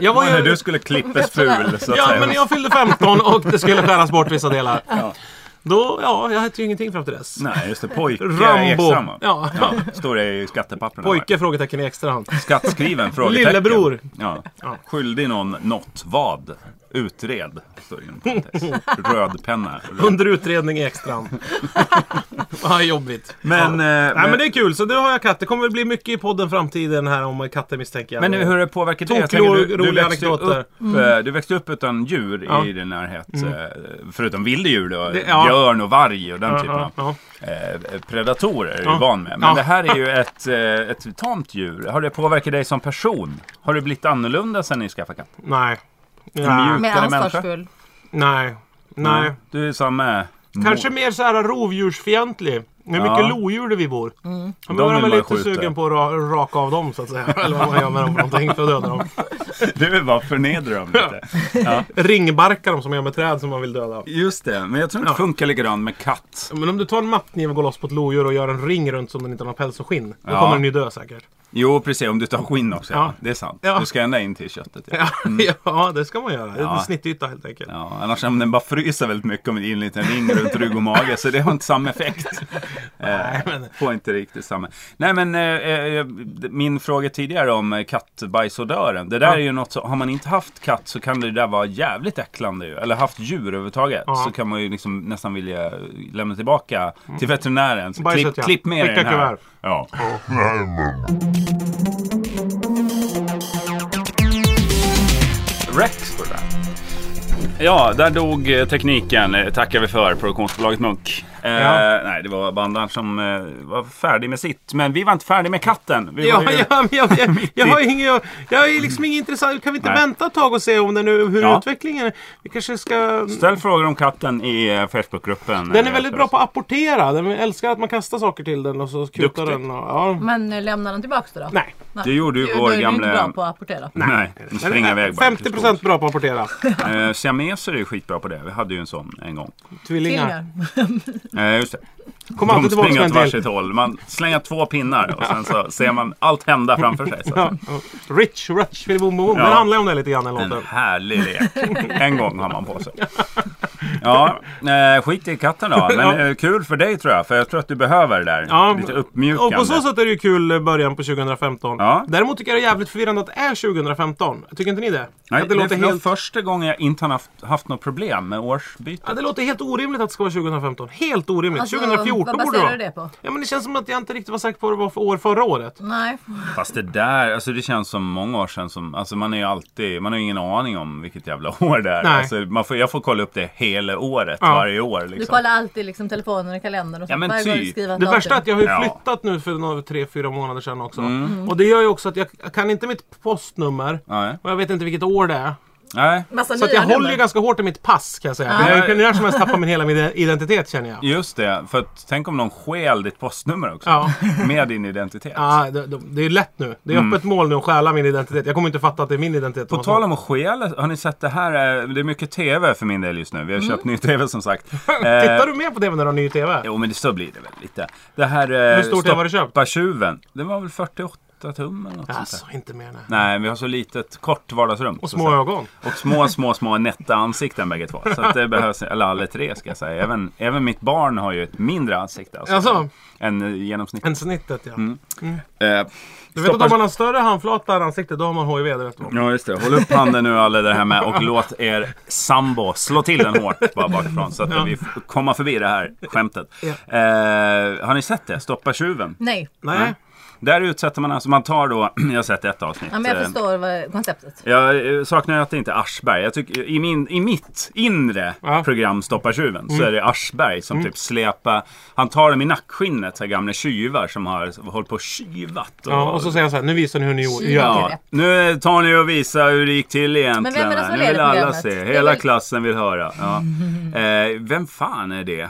Speaker 2: Jag var
Speaker 1: när
Speaker 2: ju...
Speaker 1: du skulle klippas ful så att
Speaker 2: Ja,
Speaker 1: säga.
Speaker 2: men jag fyllde 15 och det skulle skäras bort vissa delar. Då, ja, jag hette ju ingenting fram till dess.
Speaker 1: Nej, just det. Pojke
Speaker 2: Rambo.
Speaker 1: Ekstrand ja.
Speaker 2: Ja.
Speaker 1: ja, står det i skattepapperna.
Speaker 2: Pojke? Frågetecken i extra hand.
Speaker 1: Skattskriven? Frågetecken.
Speaker 2: Lillebror.
Speaker 1: Ja.
Speaker 2: Ja.
Speaker 1: Skyldig någon något vad? Utred, står det inom parentes. Röd penna. Röd.
Speaker 2: Under utredning i extran. Vad jobbigt.
Speaker 1: Men, eh,
Speaker 2: Nej
Speaker 1: men,
Speaker 2: men
Speaker 1: men,
Speaker 2: det är kul, så nu har jag katt. Det kommer väl bli mycket i podden framtiden här om katter misstänker jag.
Speaker 1: hur har det påverkat dig? Jag
Speaker 2: Tokro-
Speaker 1: tänker, du, du,
Speaker 2: roliga
Speaker 1: växte upp,
Speaker 2: anekdoter.
Speaker 1: eh, du växte upp utan djur
Speaker 2: Ja. Mm.
Speaker 1: i din närhet. eh, Förutom vilda djur då.
Speaker 2: Det- ja.
Speaker 1: Björn och varg och den typen
Speaker 2: Ja,
Speaker 1: av
Speaker 2: ja.
Speaker 1: eh, predatorer är
Speaker 2: Ja.
Speaker 1: du van med. Men
Speaker 2: Ja.
Speaker 1: det här är ju ett, eh, ett tamt djur. Har det påverkat dig som person? Har du blivit annorlunda sen ni skaffade katt?
Speaker 2: Nej.
Speaker 1: mjuk-
Speaker 2: Nej.
Speaker 3: Mer
Speaker 1: Ytterligare människa.
Speaker 3: ansvarsfull.
Speaker 2: Nej. Nej.
Speaker 1: Mm. Du är samma...
Speaker 2: Kanske mer så här rovdjursfientlig. Med
Speaker 1: Ja.
Speaker 2: mycket lodjur där vi bor. Mm. Men då
Speaker 1: vill
Speaker 2: är man
Speaker 1: man
Speaker 2: lite
Speaker 1: skjuta.
Speaker 2: sugen på att ra- raka av dem så att säga. Eller vad man gör med dem för någonting för att döda dem.
Speaker 1: Du vill bara förnedra dem lite.
Speaker 2: Ringbarka dem som man gör med träd som man vill döda.
Speaker 1: Just det, men jag tror inte det funkar likadant med katt.
Speaker 2: Men om du tar en mappkniv och går loss på ett lodjur och gör en ring runt som den inte har någon päls och skinn. Då
Speaker 1: Ja.
Speaker 2: kommer den ju dö säkert.
Speaker 1: Jo, precis. Om du tar skinn också. Ja.
Speaker 2: Ja.
Speaker 1: Det är sant.
Speaker 2: Ja.
Speaker 1: Du ska ända in till köttet. Ja.
Speaker 2: Ja, ja det ska man göra.
Speaker 1: Mm. Ja.
Speaker 2: En snittyta helt enkelt.
Speaker 1: Ja, annars om den bara fryser väldigt mycket om det är en liten ring runt rygg och mage. Så det har inte samma effekt.
Speaker 2: Nej, men...
Speaker 1: Får inte riktigt samma. Nej men eh, eh, min fråga tidigare om eh, kattbajsodören. Det där
Speaker 2: Ja.
Speaker 1: är ju något som, har man inte haft katt så kan det där vara jävligt äcklande ju. Eller haft djur överhuvudtaget.
Speaker 2: Ja.
Speaker 1: Så kan man ju liksom nästan vilja lämna tillbaka
Speaker 2: Mm.
Speaker 1: till veterinären. Så
Speaker 2: Bajset,
Speaker 1: klipp,
Speaker 2: ja.
Speaker 1: klipp med
Speaker 2: Skicka
Speaker 1: den här.
Speaker 2: kuvert.
Speaker 1: Ja. Rex var det där. Ja, där dog eh, tekniken. eh, Tackar vi för produktionsbolaget Munk. Eh,
Speaker 2: Ja.
Speaker 1: Nej, det var bandan som eh, var färdig med sitt. Men vi var inte färdiga med katten. Vi
Speaker 2: Ja,
Speaker 1: var ju...
Speaker 2: ja, men jag, jag, jag, har ingen, jag, jag är liksom ingen intressant. Kan vi inte
Speaker 1: Nej.
Speaker 2: vänta ett tag och se om den, nu- hur
Speaker 1: Ja.
Speaker 2: utvecklingen är? Vi kanske ska...
Speaker 1: Ställ frågor om katten i eh, Facebookgruppen.
Speaker 2: Den är
Speaker 1: Eh,
Speaker 2: väldigt
Speaker 1: för
Speaker 2: bra
Speaker 1: oss.
Speaker 2: på att apportera. Den älskar att man kastar saker till den och så kutar
Speaker 1: Duktig.
Speaker 2: den. Och, ja.
Speaker 3: Men eh, lämnar den tillbaks det då?
Speaker 2: Nej.
Speaker 1: Det gjorde ju
Speaker 3: Du,
Speaker 1: vår
Speaker 3: du är ju inte
Speaker 1: gamle-
Speaker 3: bra på att apportera.
Speaker 1: Nej, nu springer jag iväg bara.
Speaker 2: 50 procent bra på att apportera.
Speaker 1: Eh, siameser är ju skitbra på det. Vi hade ju en sån en gång.
Speaker 2: Tvillingar.
Speaker 3: Tvillingar.
Speaker 1: Eh, just det.
Speaker 2: Kommer alltid
Speaker 1: De
Speaker 2: tillbaka
Speaker 1: springer
Speaker 2: med
Speaker 1: åt
Speaker 2: en till.
Speaker 1: varsitt håll. Man slänger två pinnar och sen så ser man allt hända framför sig. Så. att säga.
Speaker 2: Ja. ja. Rich, Rich, Filip Boom Boom.
Speaker 1: Ja.
Speaker 2: Den handlar om det lite grann den
Speaker 1: En
Speaker 2: låten.
Speaker 1: härlig lek. En gång har man på sig. Ja, eh, skit i katten då. Men
Speaker 2: Ja.
Speaker 1: eh, kul för dig tror jag. För jag tror att du behöver det där.
Speaker 2: Ja.
Speaker 1: Lite
Speaker 2: Och
Speaker 1: uppmjukande.
Speaker 2: på så sätt är det ju kul eh, början på 2015.
Speaker 1: Ja.
Speaker 2: Däremot tycker jag det är jävligt förvirrande att det är 2015. Tycker inte ni det?
Speaker 1: Nej,
Speaker 2: att
Speaker 1: det,
Speaker 2: det, låter
Speaker 1: är nog
Speaker 2: helt,
Speaker 1: första gången jag inte har haft, haft något problem med årsbyte.
Speaker 2: ja, det låter helt orimligt att det ska vara 2015. Helt orimligt.
Speaker 3: Alltså,
Speaker 2: 2014
Speaker 3: vad
Speaker 2: borde det
Speaker 3: baserar
Speaker 2: vara.
Speaker 3: du det på?
Speaker 2: Ja, men det känns som att jag inte riktigt var säker på vad det var för år förra året.
Speaker 3: Nej.
Speaker 1: Fast det där, alltså det känns som många år sedan. Som, alltså man är ju alltid, man har ju ingen aning om vilket jävla år det är.
Speaker 2: Nej.
Speaker 1: Alltså man får, jag får kolla upp det hela året,
Speaker 2: Ja.
Speaker 1: varje år.
Speaker 3: Du
Speaker 1: Liksom.
Speaker 3: kollar alltid liksom telefonen och kalendern och så.
Speaker 1: Ja, men
Speaker 3: Varje gång
Speaker 1: typ.
Speaker 3: du skriver ett
Speaker 2: Det
Speaker 3: datum.
Speaker 2: värsta är att jag har ju
Speaker 1: Ja. Mm.
Speaker 2: flyttat nu för några, tre, fyra månader sedan också.
Speaker 3: Mm.
Speaker 2: Och det gör ju också att jag kan inte mitt postnummer.
Speaker 1: Nej.
Speaker 2: Och jag vet inte vilket år det är.
Speaker 1: Nej.
Speaker 3: Massa
Speaker 2: Så att
Speaker 3: nya
Speaker 2: jag håller ju
Speaker 3: Alltså, nummer.
Speaker 2: ganska hårt i mitt pass kan jag säga. För Jag kan när som helst tappa min hela min identitet känner jag.
Speaker 1: Just det, för att, tänk om någon stjäl ditt postnummer också.
Speaker 2: Ja.
Speaker 1: Med din identitet.
Speaker 2: Ja, det, det- det är lätt nu. Det är öppet mål nu att stjäla min identitet. Jag kommer inte fatta att det är min identitet.
Speaker 1: Mm. På tal om att stjäla, har ni sett det här? eh, Det är mycket TV för min del just nu. Vi har
Speaker 2: Mm.
Speaker 1: köpt ny TV som sagt. Eh,
Speaker 2: Tittar du mer på TV när du har ny TV?
Speaker 1: Jo men det så blir det väl lite. Det här... eh,
Speaker 2: Hur stor TV har du köpt?
Speaker 1: Stoppa tjuven. Den var väl 48 tum eller något sånt
Speaker 2: Alltså,
Speaker 1: där.
Speaker 2: inte mer nej.
Speaker 1: Nej, vi har så litet kort vardagsrum.
Speaker 2: Och
Speaker 1: så
Speaker 2: små
Speaker 1: att säga.
Speaker 2: ögon.
Speaker 1: Och små, små, små nätta ansikten bägge två. Så att det behövs, eller alla tre ska jag säga. Även, även mitt barn har ju ett mindre ansikte. Alltså,
Speaker 2: Alltså.
Speaker 1: Än eh, genomsnitt.
Speaker 2: Än snittet ja.
Speaker 1: Eh,
Speaker 2: Du vet att om man har större handflata än ansikte, då har man HIV direkt.
Speaker 1: Ja just det, håll upp handen nu alla där hemma och låt er sambo slå till den hårt bara bakifrån så att vi f- kommer förbi det här skämtet.
Speaker 2: Ja.
Speaker 1: Eh, har ni sett det? Stoppa tjuven.
Speaker 3: Nej.
Speaker 2: Nej.
Speaker 1: Där utsätter man alltså, man tar då, jag har sett ett avsnitt.
Speaker 3: Ja, men jag
Speaker 1: Eh,
Speaker 3: förstår vad, konceptet.
Speaker 1: jag eh, saknar att det inte är Aschberg. Jag tycker, i, min, I mitt inre
Speaker 2: Ja. Mm.
Speaker 1: program Stoppa tjuven så är det Aschberg som typ släpar... Han tar dem i nackskinnet, så här gamla tjuvar som har hållit på och tjuvat.
Speaker 2: Ja, och så säger jag så här, nu visar ni hur ni gör.
Speaker 1: Ja, nu tar ni och visar hur det gick till egentligen.
Speaker 3: Men vem är det som
Speaker 1: här. nu
Speaker 3: leder
Speaker 1: vill alla
Speaker 3: programmet?
Speaker 1: se.
Speaker 3: Det är
Speaker 1: Hela
Speaker 3: väl-
Speaker 1: klassen vill höra. Ja. Eh, vem fan är det?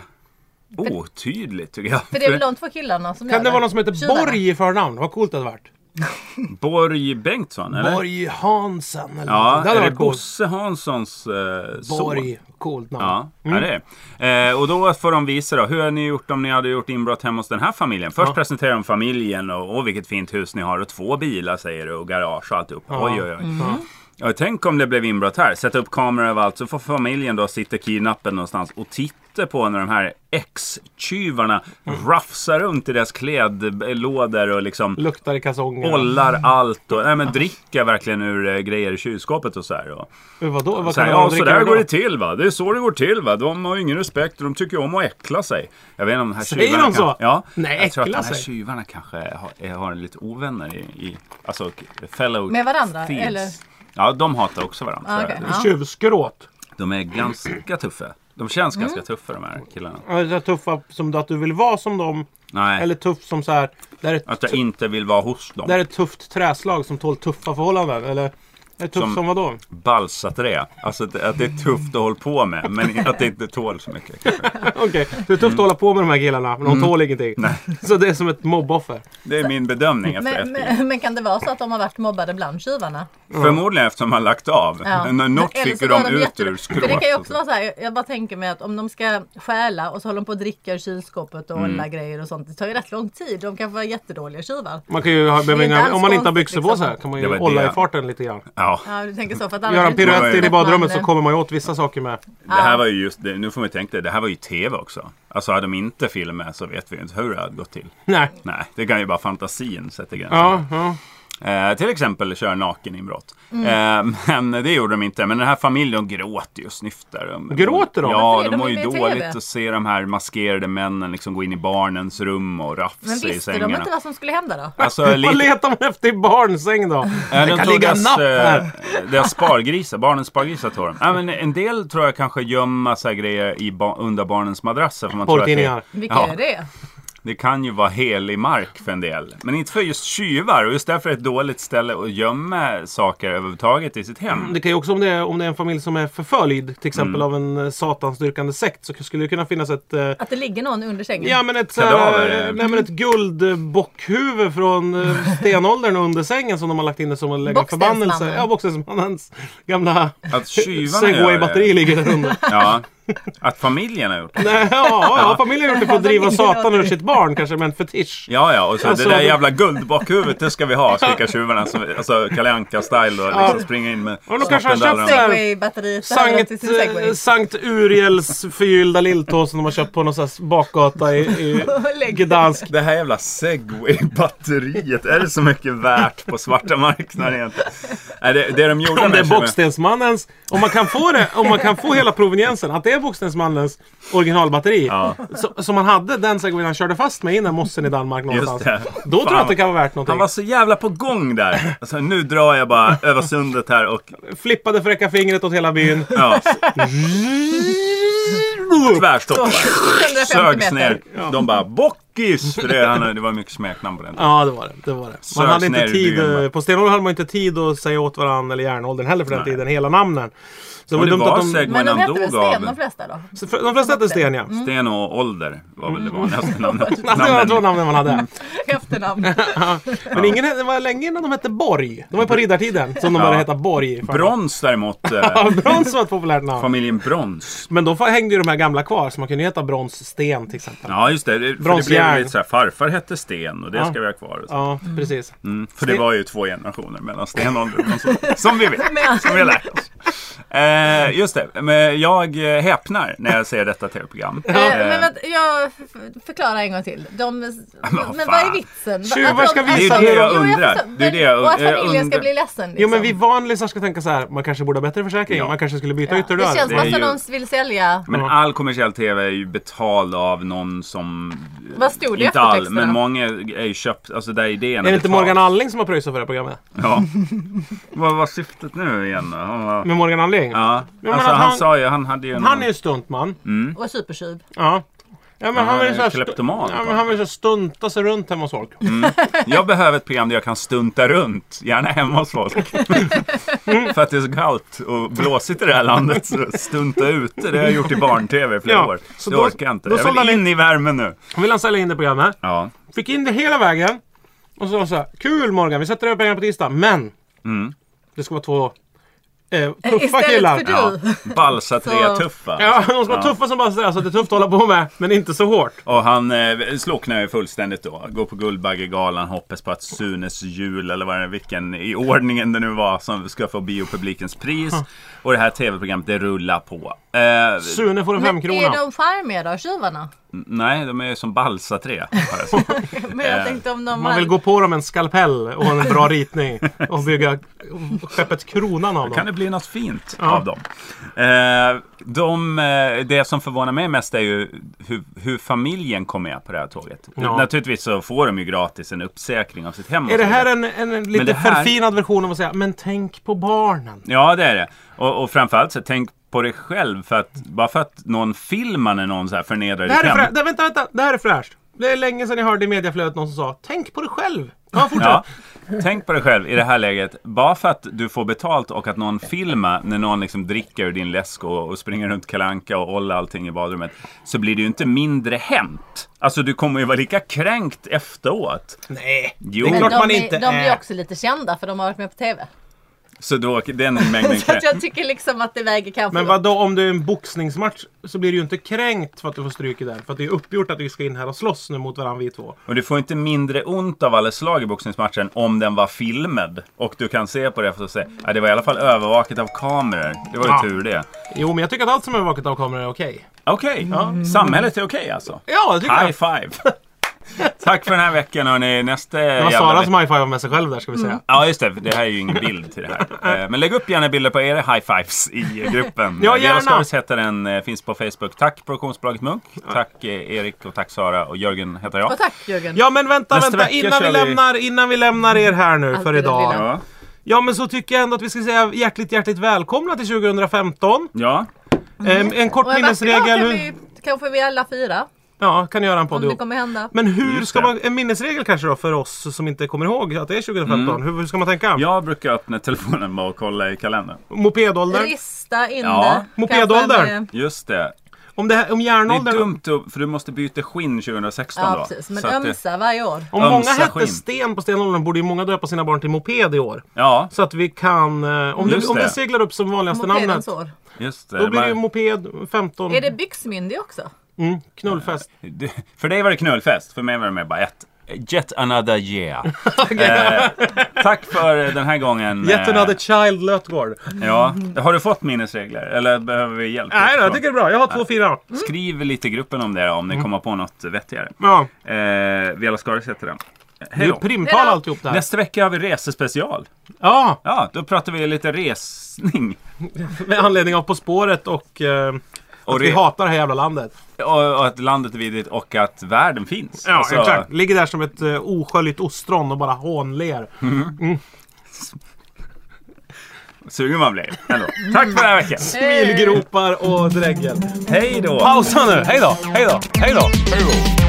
Speaker 1: Otydligt tycker jag.
Speaker 3: För det är väl de två killarna som gör
Speaker 2: Kan det vara någon som heter
Speaker 3: Tjuvarna.
Speaker 2: Borg i förnamn? Vad coolt det hade varit.
Speaker 1: Borg Bengtsson eller?
Speaker 2: Borg Hansen eller
Speaker 1: Ja,
Speaker 2: något. Det hade
Speaker 1: är det
Speaker 2: varit coolt.
Speaker 1: Bosse Hanssons eh, son?
Speaker 2: Borg. Mm. Coolt namn.
Speaker 1: Ja, ja, det är det. eh, Och då får de visa då, hur har ni gjort om ni hade gjort inbrott hemma hos den här familjen? Först presenterar de familjen och, och vilket fint hus ni har och två bilar säger du och garage och alltihop. Oj, oj, oj. Ja, tänk om det blev inbrott här. Sätta upp kameror överallt så får familjen då sitta kidnappad någonstans och titta ute på när de här ex-tjuvarna rafsar runt i deras klädlådor och liksom
Speaker 2: Luktar i kalsongerna.
Speaker 1: bollar allt och nej, men dricker verkligen ur eh, grejer i kylskåpet och så här. Och,
Speaker 2: Hur, Vadå? Vad
Speaker 1: så
Speaker 2: kan
Speaker 1: här,
Speaker 2: man
Speaker 1: ja, så
Speaker 2: dricka
Speaker 1: där
Speaker 2: med
Speaker 1: går
Speaker 2: då?
Speaker 1: det till va. Det är så det går till va. De har ingen respekt och de tycker om att äckla sig. Jag vet inte om de här
Speaker 2: Säger
Speaker 1: tjuvarna
Speaker 2: de så?
Speaker 1: kan- Ja.
Speaker 2: Nej,
Speaker 1: jag tror att de
Speaker 2: äckla
Speaker 1: här
Speaker 2: sig.
Speaker 1: tjuvarna kanske har, är- har lite ovänner i, i alltså fellow
Speaker 3: Med varandra,
Speaker 1: thieves.
Speaker 3: eller?
Speaker 1: Ja, de hatar också varandra.
Speaker 3: Ah,
Speaker 1: så är
Speaker 3: okej.
Speaker 1: det.
Speaker 3: Ja.
Speaker 2: Tjuvskråt.
Speaker 1: De är ganska tuffa. De känns
Speaker 3: Mm.
Speaker 1: ganska tuffa de här killarna.
Speaker 2: Alltså, tuffa som du- att du vill vara som dem.
Speaker 1: Nej, Alltså-
Speaker 2: Eller tuff som så här. Det här är,
Speaker 1: att jag inte vill vara hos
Speaker 2: det här
Speaker 1: dem.
Speaker 2: är ett tufft träslag som tål tuffa förhållanden. Eller? Är tuff
Speaker 1: Som-
Speaker 2: som, vadå?
Speaker 1: Balsaträ. Alltså att, det- att det är tufft att hålla på med, men att det inte tål så mycket. kanske.
Speaker 2: Okej, det är tufft att hålla på med de här killarna men de
Speaker 1: Mm.
Speaker 2: tål ingenting. Så det är som ett mobboffer.
Speaker 1: Det är min bedömning efter
Speaker 3: Men,
Speaker 1: eftergift.
Speaker 3: men, men kan det vara så att de har varit mobbade bland tjuvarna?
Speaker 1: Förmodligen eftersom man lagt av.
Speaker 3: Ja.
Speaker 1: Men Något
Speaker 3: Eller
Speaker 1: fick
Speaker 3: så
Speaker 1: ju
Speaker 3: var
Speaker 1: de ut
Speaker 3: jätte-
Speaker 1: ur
Speaker 3: För det kan ju
Speaker 1: skrået.
Speaker 3: också vara så här, jag- jag bara tänker mig att om de ska stjäla och så håller de på att dricka ur kylskåpet
Speaker 2: Mm.
Speaker 3: och hålla grejer och sånt. Det tar ju rätt lång tid. De kan vara jättedåliga tjuvar.
Speaker 2: Man kan ju, ha- behöver
Speaker 3: inte
Speaker 2: inga-
Speaker 3: alls
Speaker 2: om man inte har
Speaker 3: konstigt,
Speaker 2: byxor på
Speaker 3: liksom.
Speaker 2: så här kan man
Speaker 1: Det
Speaker 2: ju
Speaker 1: var
Speaker 2: hålla
Speaker 1: det.
Speaker 2: i farten lite grann.
Speaker 1: Ja,
Speaker 3: Ja, du tänker så. För att
Speaker 2: Göra en
Speaker 3: annars är det inte
Speaker 2: piruett in i
Speaker 3: att
Speaker 2: badrummet
Speaker 3: man,
Speaker 2: så kommer man ju åt vissa saker med.
Speaker 1: det här var ju just det. Nu får man ju tänka det. Det här var ju TV också. Alltså hade de inte filmat så vet vi ju inte hur det hade gått till.
Speaker 2: Nej.
Speaker 1: Nej, det kan ju bara fantasin sätta gränser.
Speaker 2: Ja, ja.
Speaker 1: Eh, till exempel köra nakeninbrott.
Speaker 3: Mm.
Speaker 1: Eh, men det gjorde de inte. Men den här familjen de gråter ju och snyftar. De-
Speaker 2: Gråter de?
Speaker 1: Ja,
Speaker 3: Varför är
Speaker 1: de
Speaker 3: de
Speaker 1: mår ju
Speaker 3: med i TV?
Speaker 1: dåligt att se de här maskerade männen liksom gå in i barnens rum och rafsa
Speaker 3: Men
Speaker 1: i
Speaker 3: visste de
Speaker 1: sängarna.
Speaker 3: inte vad som skulle hända då?
Speaker 1: Alltså,
Speaker 2: Vad
Speaker 1: lite,
Speaker 2: letar man efter i barnsäng då?
Speaker 1: äh,
Speaker 2: Det
Speaker 1: de
Speaker 2: kan
Speaker 1: tog
Speaker 2: ligga en
Speaker 1: deras,
Speaker 2: napp
Speaker 1: eh,
Speaker 2: här.
Speaker 1: deras spargrisar, barnens spargrisar tog de. Äh, men en del tror jag kanske gömmer så här grejer i ba- under barnens madrasser. för man tror att det-
Speaker 2: Porrtidningar.
Speaker 3: Vilka
Speaker 1: Ja.
Speaker 3: är det?
Speaker 1: Det kan ju vara helig mark för en del. Men inte för just tjuvar. Och just därför är det ett dåligt ställe att gömma saker överhuvudtaget i sitt hem.
Speaker 2: Det kan ju också om det, är, om det är en familj som är förföljd till exempel
Speaker 1: Mm.
Speaker 2: av en eh, satansdyrkande sekt så skulle det kunna finnas ett eh,
Speaker 3: Att det ligger någon under sängen?
Speaker 2: Ja men ett, så
Speaker 1: Kadaver,
Speaker 2: här,
Speaker 1: eh.
Speaker 2: nej, men ett guldbockhuvud från eh, stenåldern under sängen som de har lagt in det som en lägga förbannelse.
Speaker 3: Bockstensmannen.
Speaker 2: Ja, Bockstensmannens gamla
Speaker 1: Att tjuvarna gör det.
Speaker 2: Segway-batteri ligger där under.
Speaker 1: Ja. Att familjen har gjort det.
Speaker 2: Nej, ja, ja, familjen har gjort det för att driva
Speaker 3: Familjen
Speaker 2: satan ur sitt barn kanske med en fetisch.
Speaker 1: Ja, ja. Och så
Speaker 2: Alltså,
Speaker 1: det där
Speaker 2: de-
Speaker 1: jävla guldbakhuvudet, det ska vi ha. Skrika tjuvarna. Som, alltså Kalle Anka-style och liksom springa in med
Speaker 2: då kanske han
Speaker 1: snoppen där
Speaker 2: köpte-
Speaker 1: de-
Speaker 3: Segway-batteriet där
Speaker 2: Sankt,
Speaker 3: till sin segway.
Speaker 2: eh, Sankt Uriels förgyllda lilltå som de har köpt på någon sån här bakgata i, i
Speaker 3: Lägg-
Speaker 2: Gdansk.
Speaker 1: Det här jävla segway-batteriet. Är det så mycket värt på svarta marknaden egentligen? Nej, det, det de gjorde
Speaker 2: Om det är
Speaker 1: med-
Speaker 2: Bockstensmannens, om man kan få det, om man kan få hela proveniensen, att det är Bockstensmannens originalbatteri.
Speaker 1: Ja.
Speaker 2: Så- Som han hade, den segwayen han körde fast med innan mossen i Danmark någonstans.
Speaker 1: det.
Speaker 2: Då tror
Speaker 1: Fan.
Speaker 2: jag att det kan vara värt någonting.
Speaker 1: Han var så jävla på gång där. Alltså, nu drar jag bara över sundet här och
Speaker 2: Flippade fräcka fingret åt hela byn.
Speaker 1: ja, tvärstoppar.
Speaker 3: 150
Speaker 1: Sögs ner.
Speaker 3: meter.
Speaker 1: De bara Bockis! För det, han, det var mycket smeknamn på den tiden.
Speaker 2: Ja, det var det. det, var det. Man
Speaker 1: Sögs
Speaker 2: hade
Speaker 1: ner
Speaker 2: inte
Speaker 1: i
Speaker 2: tid,
Speaker 1: byn.
Speaker 2: eh, på stenåldern hade man inte tid att säga åt varandra, eller järnåldern heller för den
Speaker 1: Nej.
Speaker 2: tiden, hela namnen. Så
Speaker 1: Men det
Speaker 2: dumt
Speaker 1: var
Speaker 2: att de,
Speaker 1: segwayen
Speaker 3: Men de
Speaker 1: han
Speaker 3: hette väl
Speaker 1: dog
Speaker 3: Sten de
Speaker 1: av.
Speaker 3: flesta då?
Speaker 2: Så för- de flesta hette Sten, ja.
Speaker 1: Sten och ålder var väl det vanligaste namnet.
Speaker 2: Mm. Det var de två
Speaker 1: namnen. Mm.
Speaker 2: namnen man hade.
Speaker 3: Efternamn. Eh,
Speaker 2: Men ingen, det var länge innan de hette Borg. De var ju på riddartiden som de
Speaker 1: Ja.
Speaker 2: började heta Borg.
Speaker 1: Brons däremot. Eh,
Speaker 2: Ja, brons var ett populärt namn.
Speaker 1: familjen Brons.
Speaker 2: Men då fa- hängde ju de här gamla kvar, så man kunde ju heta bronssten till exempel.
Speaker 1: Ja just det. det- För det blev
Speaker 2: Bronsjärn.
Speaker 1: ju lite så här, farfar hette Sten och det
Speaker 2: Ja.
Speaker 1: ska vi ha kvar. och så.
Speaker 2: Ja, precis.
Speaker 1: Mm, för det var ju två generationer mellan stenåldern och bronsåldern. Som vi vet.
Speaker 3: Men-
Speaker 1: Som vi har lärt oss. Eh, just det. Men jag eh, häpnar när jag ser detta tv-program.
Speaker 3: Eh,
Speaker 1: Eh,
Speaker 3: Men vänta, jag förklarar en gång till. De, men
Speaker 1: vad fan.
Speaker 3: vad är vitsen? Va-
Speaker 2: Tjuvar
Speaker 3: att de-
Speaker 2: ska
Speaker 3: att
Speaker 1: Det
Speaker 3: de-
Speaker 1: är
Speaker 2: visa
Speaker 1: ju det
Speaker 2: Jo,
Speaker 1: jag
Speaker 3: Jo,
Speaker 1: undrar.
Speaker 3: förstår.
Speaker 1: Det är det jag,
Speaker 3: och att
Speaker 1: jag
Speaker 3: familjen ska
Speaker 1: undrar.
Speaker 3: bli ledsen. Liksom.
Speaker 2: Jo men vi vanlisar ska tänka så här, man kanske borde ha bättre försäkring,
Speaker 1: Ja.
Speaker 2: man kanske skulle byta
Speaker 3: Ja.
Speaker 2: ytterdörr.
Speaker 3: Det känns
Speaker 1: det
Speaker 3: som
Speaker 1: är
Speaker 3: att
Speaker 1: ju-
Speaker 3: någon vill sälja.
Speaker 1: Men all kommersiell tv är ju betald av någon som...
Speaker 3: Vad stod det i
Speaker 1: Inte all,
Speaker 3: eftertexterna?
Speaker 1: men många är ju köpt. Alltså där idén
Speaker 2: Är det inte
Speaker 1: betald.
Speaker 2: Morgan Alling som har pröjsat för det här programmet?
Speaker 1: Ja. Vad var syftet nu igen då? Han var...
Speaker 2: Med Morgan Alling?
Speaker 1: Ja.
Speaker 2: men
Speaker 1: Alltså
Speaker 2: att
Speaker 1: han
Speaker 2: han-
Speaker 1: sa ju, han hade ju...
Speaker 2: Han är ju stuntman.
Speaker 3: Och supertjuv.
Speaker 2: Ja. Ja men
Speaker 1: han
Speaker 2: han
Speaker 1: är
Speaker 2: vill såhär
Speaker 1: kleptoman.
Speaker 2: ja, men han vill så här stunta sig runt hemma hos folk.
Speaker 1: Jag behöver ett program där jag kan stunta runt, gärna hemma hos folk. För att det är så kallt och blåsigt i det här landet. Så stunta ute, det har jag gjort i barn-tv i flera
Speaker 2: Ja,
Speaker 1: år.
Speaker 2: så
Speaker 1: det
Speaker 2: då-
Speaker 1: orkar jag inte.
Speaker 2: då
Speaker 1: Jag
Speaker 2: sålde
Speaker 1: vill
Speaker 2: han
Speaker 1: in i värmen nu.
Speaker 2: Han vill han sälja in det programmet.
Speaker 1: Ja.
Speaker 2: Fick in det hela vägen. Och så var det så här, kul Morgan, vi sätter över pengarna på tisdag, men.
Speaker 1: Mm.
Speaker 2: Det ska vara två eh, tuffa
Speaker 3: Istället
Speaker 2: killar.
Speaker 3: för
Speaker 1: ja.
Speaker 3: du.
Speaker 1: Balsa tre
Speaker 3: Så-
Speaker 1: tuffa.
Speaker 2: Ja, de ska vara tuffa som bara sådär, så att det är tufft att hålla på med, men inte så hårt.
Speaker 1: Och han eh, slocknar ju fullständigt då. Går på Guldbaggegalan, hoppas på att Sunes jul eller vad det vilken i ordningen det nu var som ska få biopublikens pris. Och det här tv-programmet det rullar på. Eh,
Speaker 2: Sune får en femkrona.
Speaker 3: Är de charmiga då, tjuvarna?
Speaker 1: nej, de är ju som balsaträ. har jag sett.
Speaker 3: Men
Speaker 1: Eh,
Speaker 3: jag tänkte om de
Speaker 2: Man vill gå på dem med en skalpell och en bra ritning och bygga skeppet Kronan av
Speaker 1: kan
Speaker 2: dem.
Speaker 1: det bli något fint
Speaker 2: Ja.
Speaker 1: av dem. Eh, de, eh, det som förvånar mig mest är ju hur, hur familjen kom med på det här tåget.
Speaker 2: Ja.
Speaker 1: Naturligtvis så får de ju gratis en uppsäkring av sitt hem. och
Speaker 2: Är
Speaker 1: så
Speaker 2: det här
Speaker 1: vidare.
Speaker 2: en, en lite
Speaker 1: det här-
Speaker 2: förfinad version av att säga men tänk på barnen?
Speaker 1: Ja, det är det. Och, och framförallt så tänk på dig själv. För att, bara för att någon filmar när någon så här förnedrar
Speaker 2: Det här
Speaker 1: ditt
Speaker 2: är
Speaker 1: hem.
Speaker 2: frä... det, vänta, vänta. Det här är fräscht. Det är länge sedan jag hörde i mediaflödet någon som sa tänk på dig själv. Ja, fortsätt.
Speaker 1: Ja, tänk på dig själv i det här läget. Bara för att du får betalt och att någon filmar när någon liksom dricker ur din läsk och, och springer runt kalanka och ollar allting i badrummet. Så blir det ju inte mindre hänt. Alltså du kommer ju vara lika kränkt efteråt.
Speaker 2: Nej,
Speaker 1: Jo.
Speaker 2: det är
Speaker 3: Men
Speaker 2: klart
Speaker 3: de,
Speaker 2: man
Speaker 3: är-
Speaker 2: inte
Speaker 3: de blir
Speaker 2: är.
Speaker 3: också lite kända för de har varit med på TV.
Speaker 1: Så då, den mängden
Speaker 3: Så att
Speaker 1: kränk.
Speaker 3: jag tycker liksom att det väger kanske
Speaker 2: Men
Speaker 3: upp.
Speaker 2: vadå om det är en boxningsmatch så blir du ju inte kränkt för att du får stryk i den. För att det är uppgjort att vi ska in här och slåss nu mot varandra vi två.
Speaker 1: Och du får inte mindre ont av alla slag i boxningsmatchen om den var filmad. Och du kan se på det och säga att det var i alla fall övervakat av kameror. Det var ju
Speaker 2: Ja.
Speaker 1: tur det.
Speaker 2: Jo, men jag tycker att allt som är vaket av kameror är okej.
Speaker 1: Okej, samhället är okej alltså.
Speaker 2: Ja, det tycker jag.
Speaker 1: High five! Tack för den här veckan hörni. Nästa
Speaker 2: Det var Sara som high-fivade med sig själv där ska vi säga.
Speaker 3: Mm.
Speaker 1: Ja just det, det här är ju ingen bild till det här. Eh, Men lägg upp gärna bilder på era high-fives i gruppen.
Speaker 2: Ja,
Speaker 1: Leva
Speaker 2: gärna.
Speaker 1: Skaris heter den, eh, finns på Facebook. Tack produktionsbolaget Munk. Tack eh, Erik och tack Sara och Jörgen heter jag.
Speaker 3: Och tack Jörgen.
Speaker 2: Ja men vänta,
Speaker 1: Nästa
Speaker 2: vänta.
Speaker 1: vecka
Speaker 2: Innan vi,
Speaker 1: kör vi-
Speaker 2: lämnar, innan vi lämnar er här nu
Speaker 3: Alltid
Speaker 2: för
Speaker 3: det
Speaker 2: idag.
Speaker 3: lilla.
Speaker 1: Ja.
Speaker 2: Ja men så tycker jag ändå att vi ska säga hjärtligt hjärtligt välkomna till 2015.
Speaker 1: ja.
Speaker 2: Ehm, en kort
Speaker 3: Mm. Och en vacker dag
Speaker 2: minnesregel.
Speaker 3: kan
Speaker 2: Hur...
Speaker 3: vi, kanske vi alla fyra.
Speaker 2: Ja, kan göra en podd
Speaker 3: Om det
Speaker 2: ihop.
Speaker 3: kommer hända.
Speaker 2: Men hur
Speaker 1: Just
Speaker 2: ska
Speaker 1: det.
Speaker 2: man, en minnesregel kanske då för oss som inte kommer ihåg att det är
Speaker 1: Mm.
Speaker 2: 2015. Hur, hur ska man tänka?
Speaker 1: Jag brukar öppna telefonen med att kolla i kalendern.
Speaker 2: Mopedålder?
Speaker 3: Rista in
Speaker 1: Ja.
Speaker 3: det.
Speaker 2: Mopedålder.
Speaker 3: Kanske en, eh,
Speaker 1: Just det.
Speaker 2: Om, det här, om
Speaker 1: Det är
Speaker 2: järnåldern?
Speaker 1: dumt att- för du måste byta skinn 2016
Speaker 3: Ja
Speaker 1: då.
Speaker 3: precis, men
Speaker 1: Så att det-
Speaker 3: ömsa varje år.
Speaker 2: Om många
Speaker 1: Ömsa
Speaker 2: hette
Speaker 1: skinn.
Speaker 2: Sten på stenåldern borde ju många döpa sina barn till moped i år.
Speaker 1: Ja,
Speaker 2: Så att vi kan... eh, Om det,
Speaker 1: Just
Speaker 2: om det
Speaker 1: det.
Speaker 2: seglar upp som vanligaste namnet.
Speaker 3: Mopedens år.
Speaker 1: just det.
Speaker 2: Då blir det ju
Speaker 1: Bara-
Speaker 2: moped 15.
Speaker 3: Är det byxmyndig också?
Speaker 2: Mm, knullfest.
Speaker 1: Det- För dig var det knullfest, för mig var det mer bara ett. Yet another year.
Speaker 2: Äh,
Speaker 1: eh, tack för den här gången.
Speaker 2: Yet
Speaker 1: Eh,
Speaker 2: another child Lötgård.
Speaker 1: Ja. Har du fått minnesregler eller behöver vi hjälp?
Speaker 2: Nej då, jag tycker Mm. det är bra. Jag har två fina.
Speaker 1: Skriv lite i gruppen om det om ni kommer på något vettigare.
Speaker 2: Ja.
Speaker 1: Eh, Vela Skaris heter den. Eh,
Speaker 2: Det är
Speaker 1: Hej
Speaker 2: ju
Speaker 1: då.
Speaker 2: primtal
Speaker 3: Hej då.
Speaker 2: alltihop det här.
Speaker 1: Nästa vecka har vi resespecial.
Speaker 2: Ja,
Speaker 1: Ja, då pratar vi lite resning.
Speaker 2: med anledning av På spåret och, eh,
Speaker 1: Och
Speaker 2: att vi
Speaker 1: det-
Speaker 2: hatar det här jävla landet.
Speaker 1: Och, och att landet är vidrigt och att världen finns.
Speaker 2: Ja,
Speaker 1: Alltså,
Speaker 2: exakt. Ligger där som ett eh, osköljt ostron och bara hånler.
Speaker 3: Mm.
Speaker 1: Sugen man blir. Ändå. Tack för den här veckan.
Speaker 2: Mm. Smilgropar och dregel.
Speaker 1: Hej då.
Speaker 2: Pausa nu! Hej då! Hej då! Hej då!
Speaker 1: Hej då.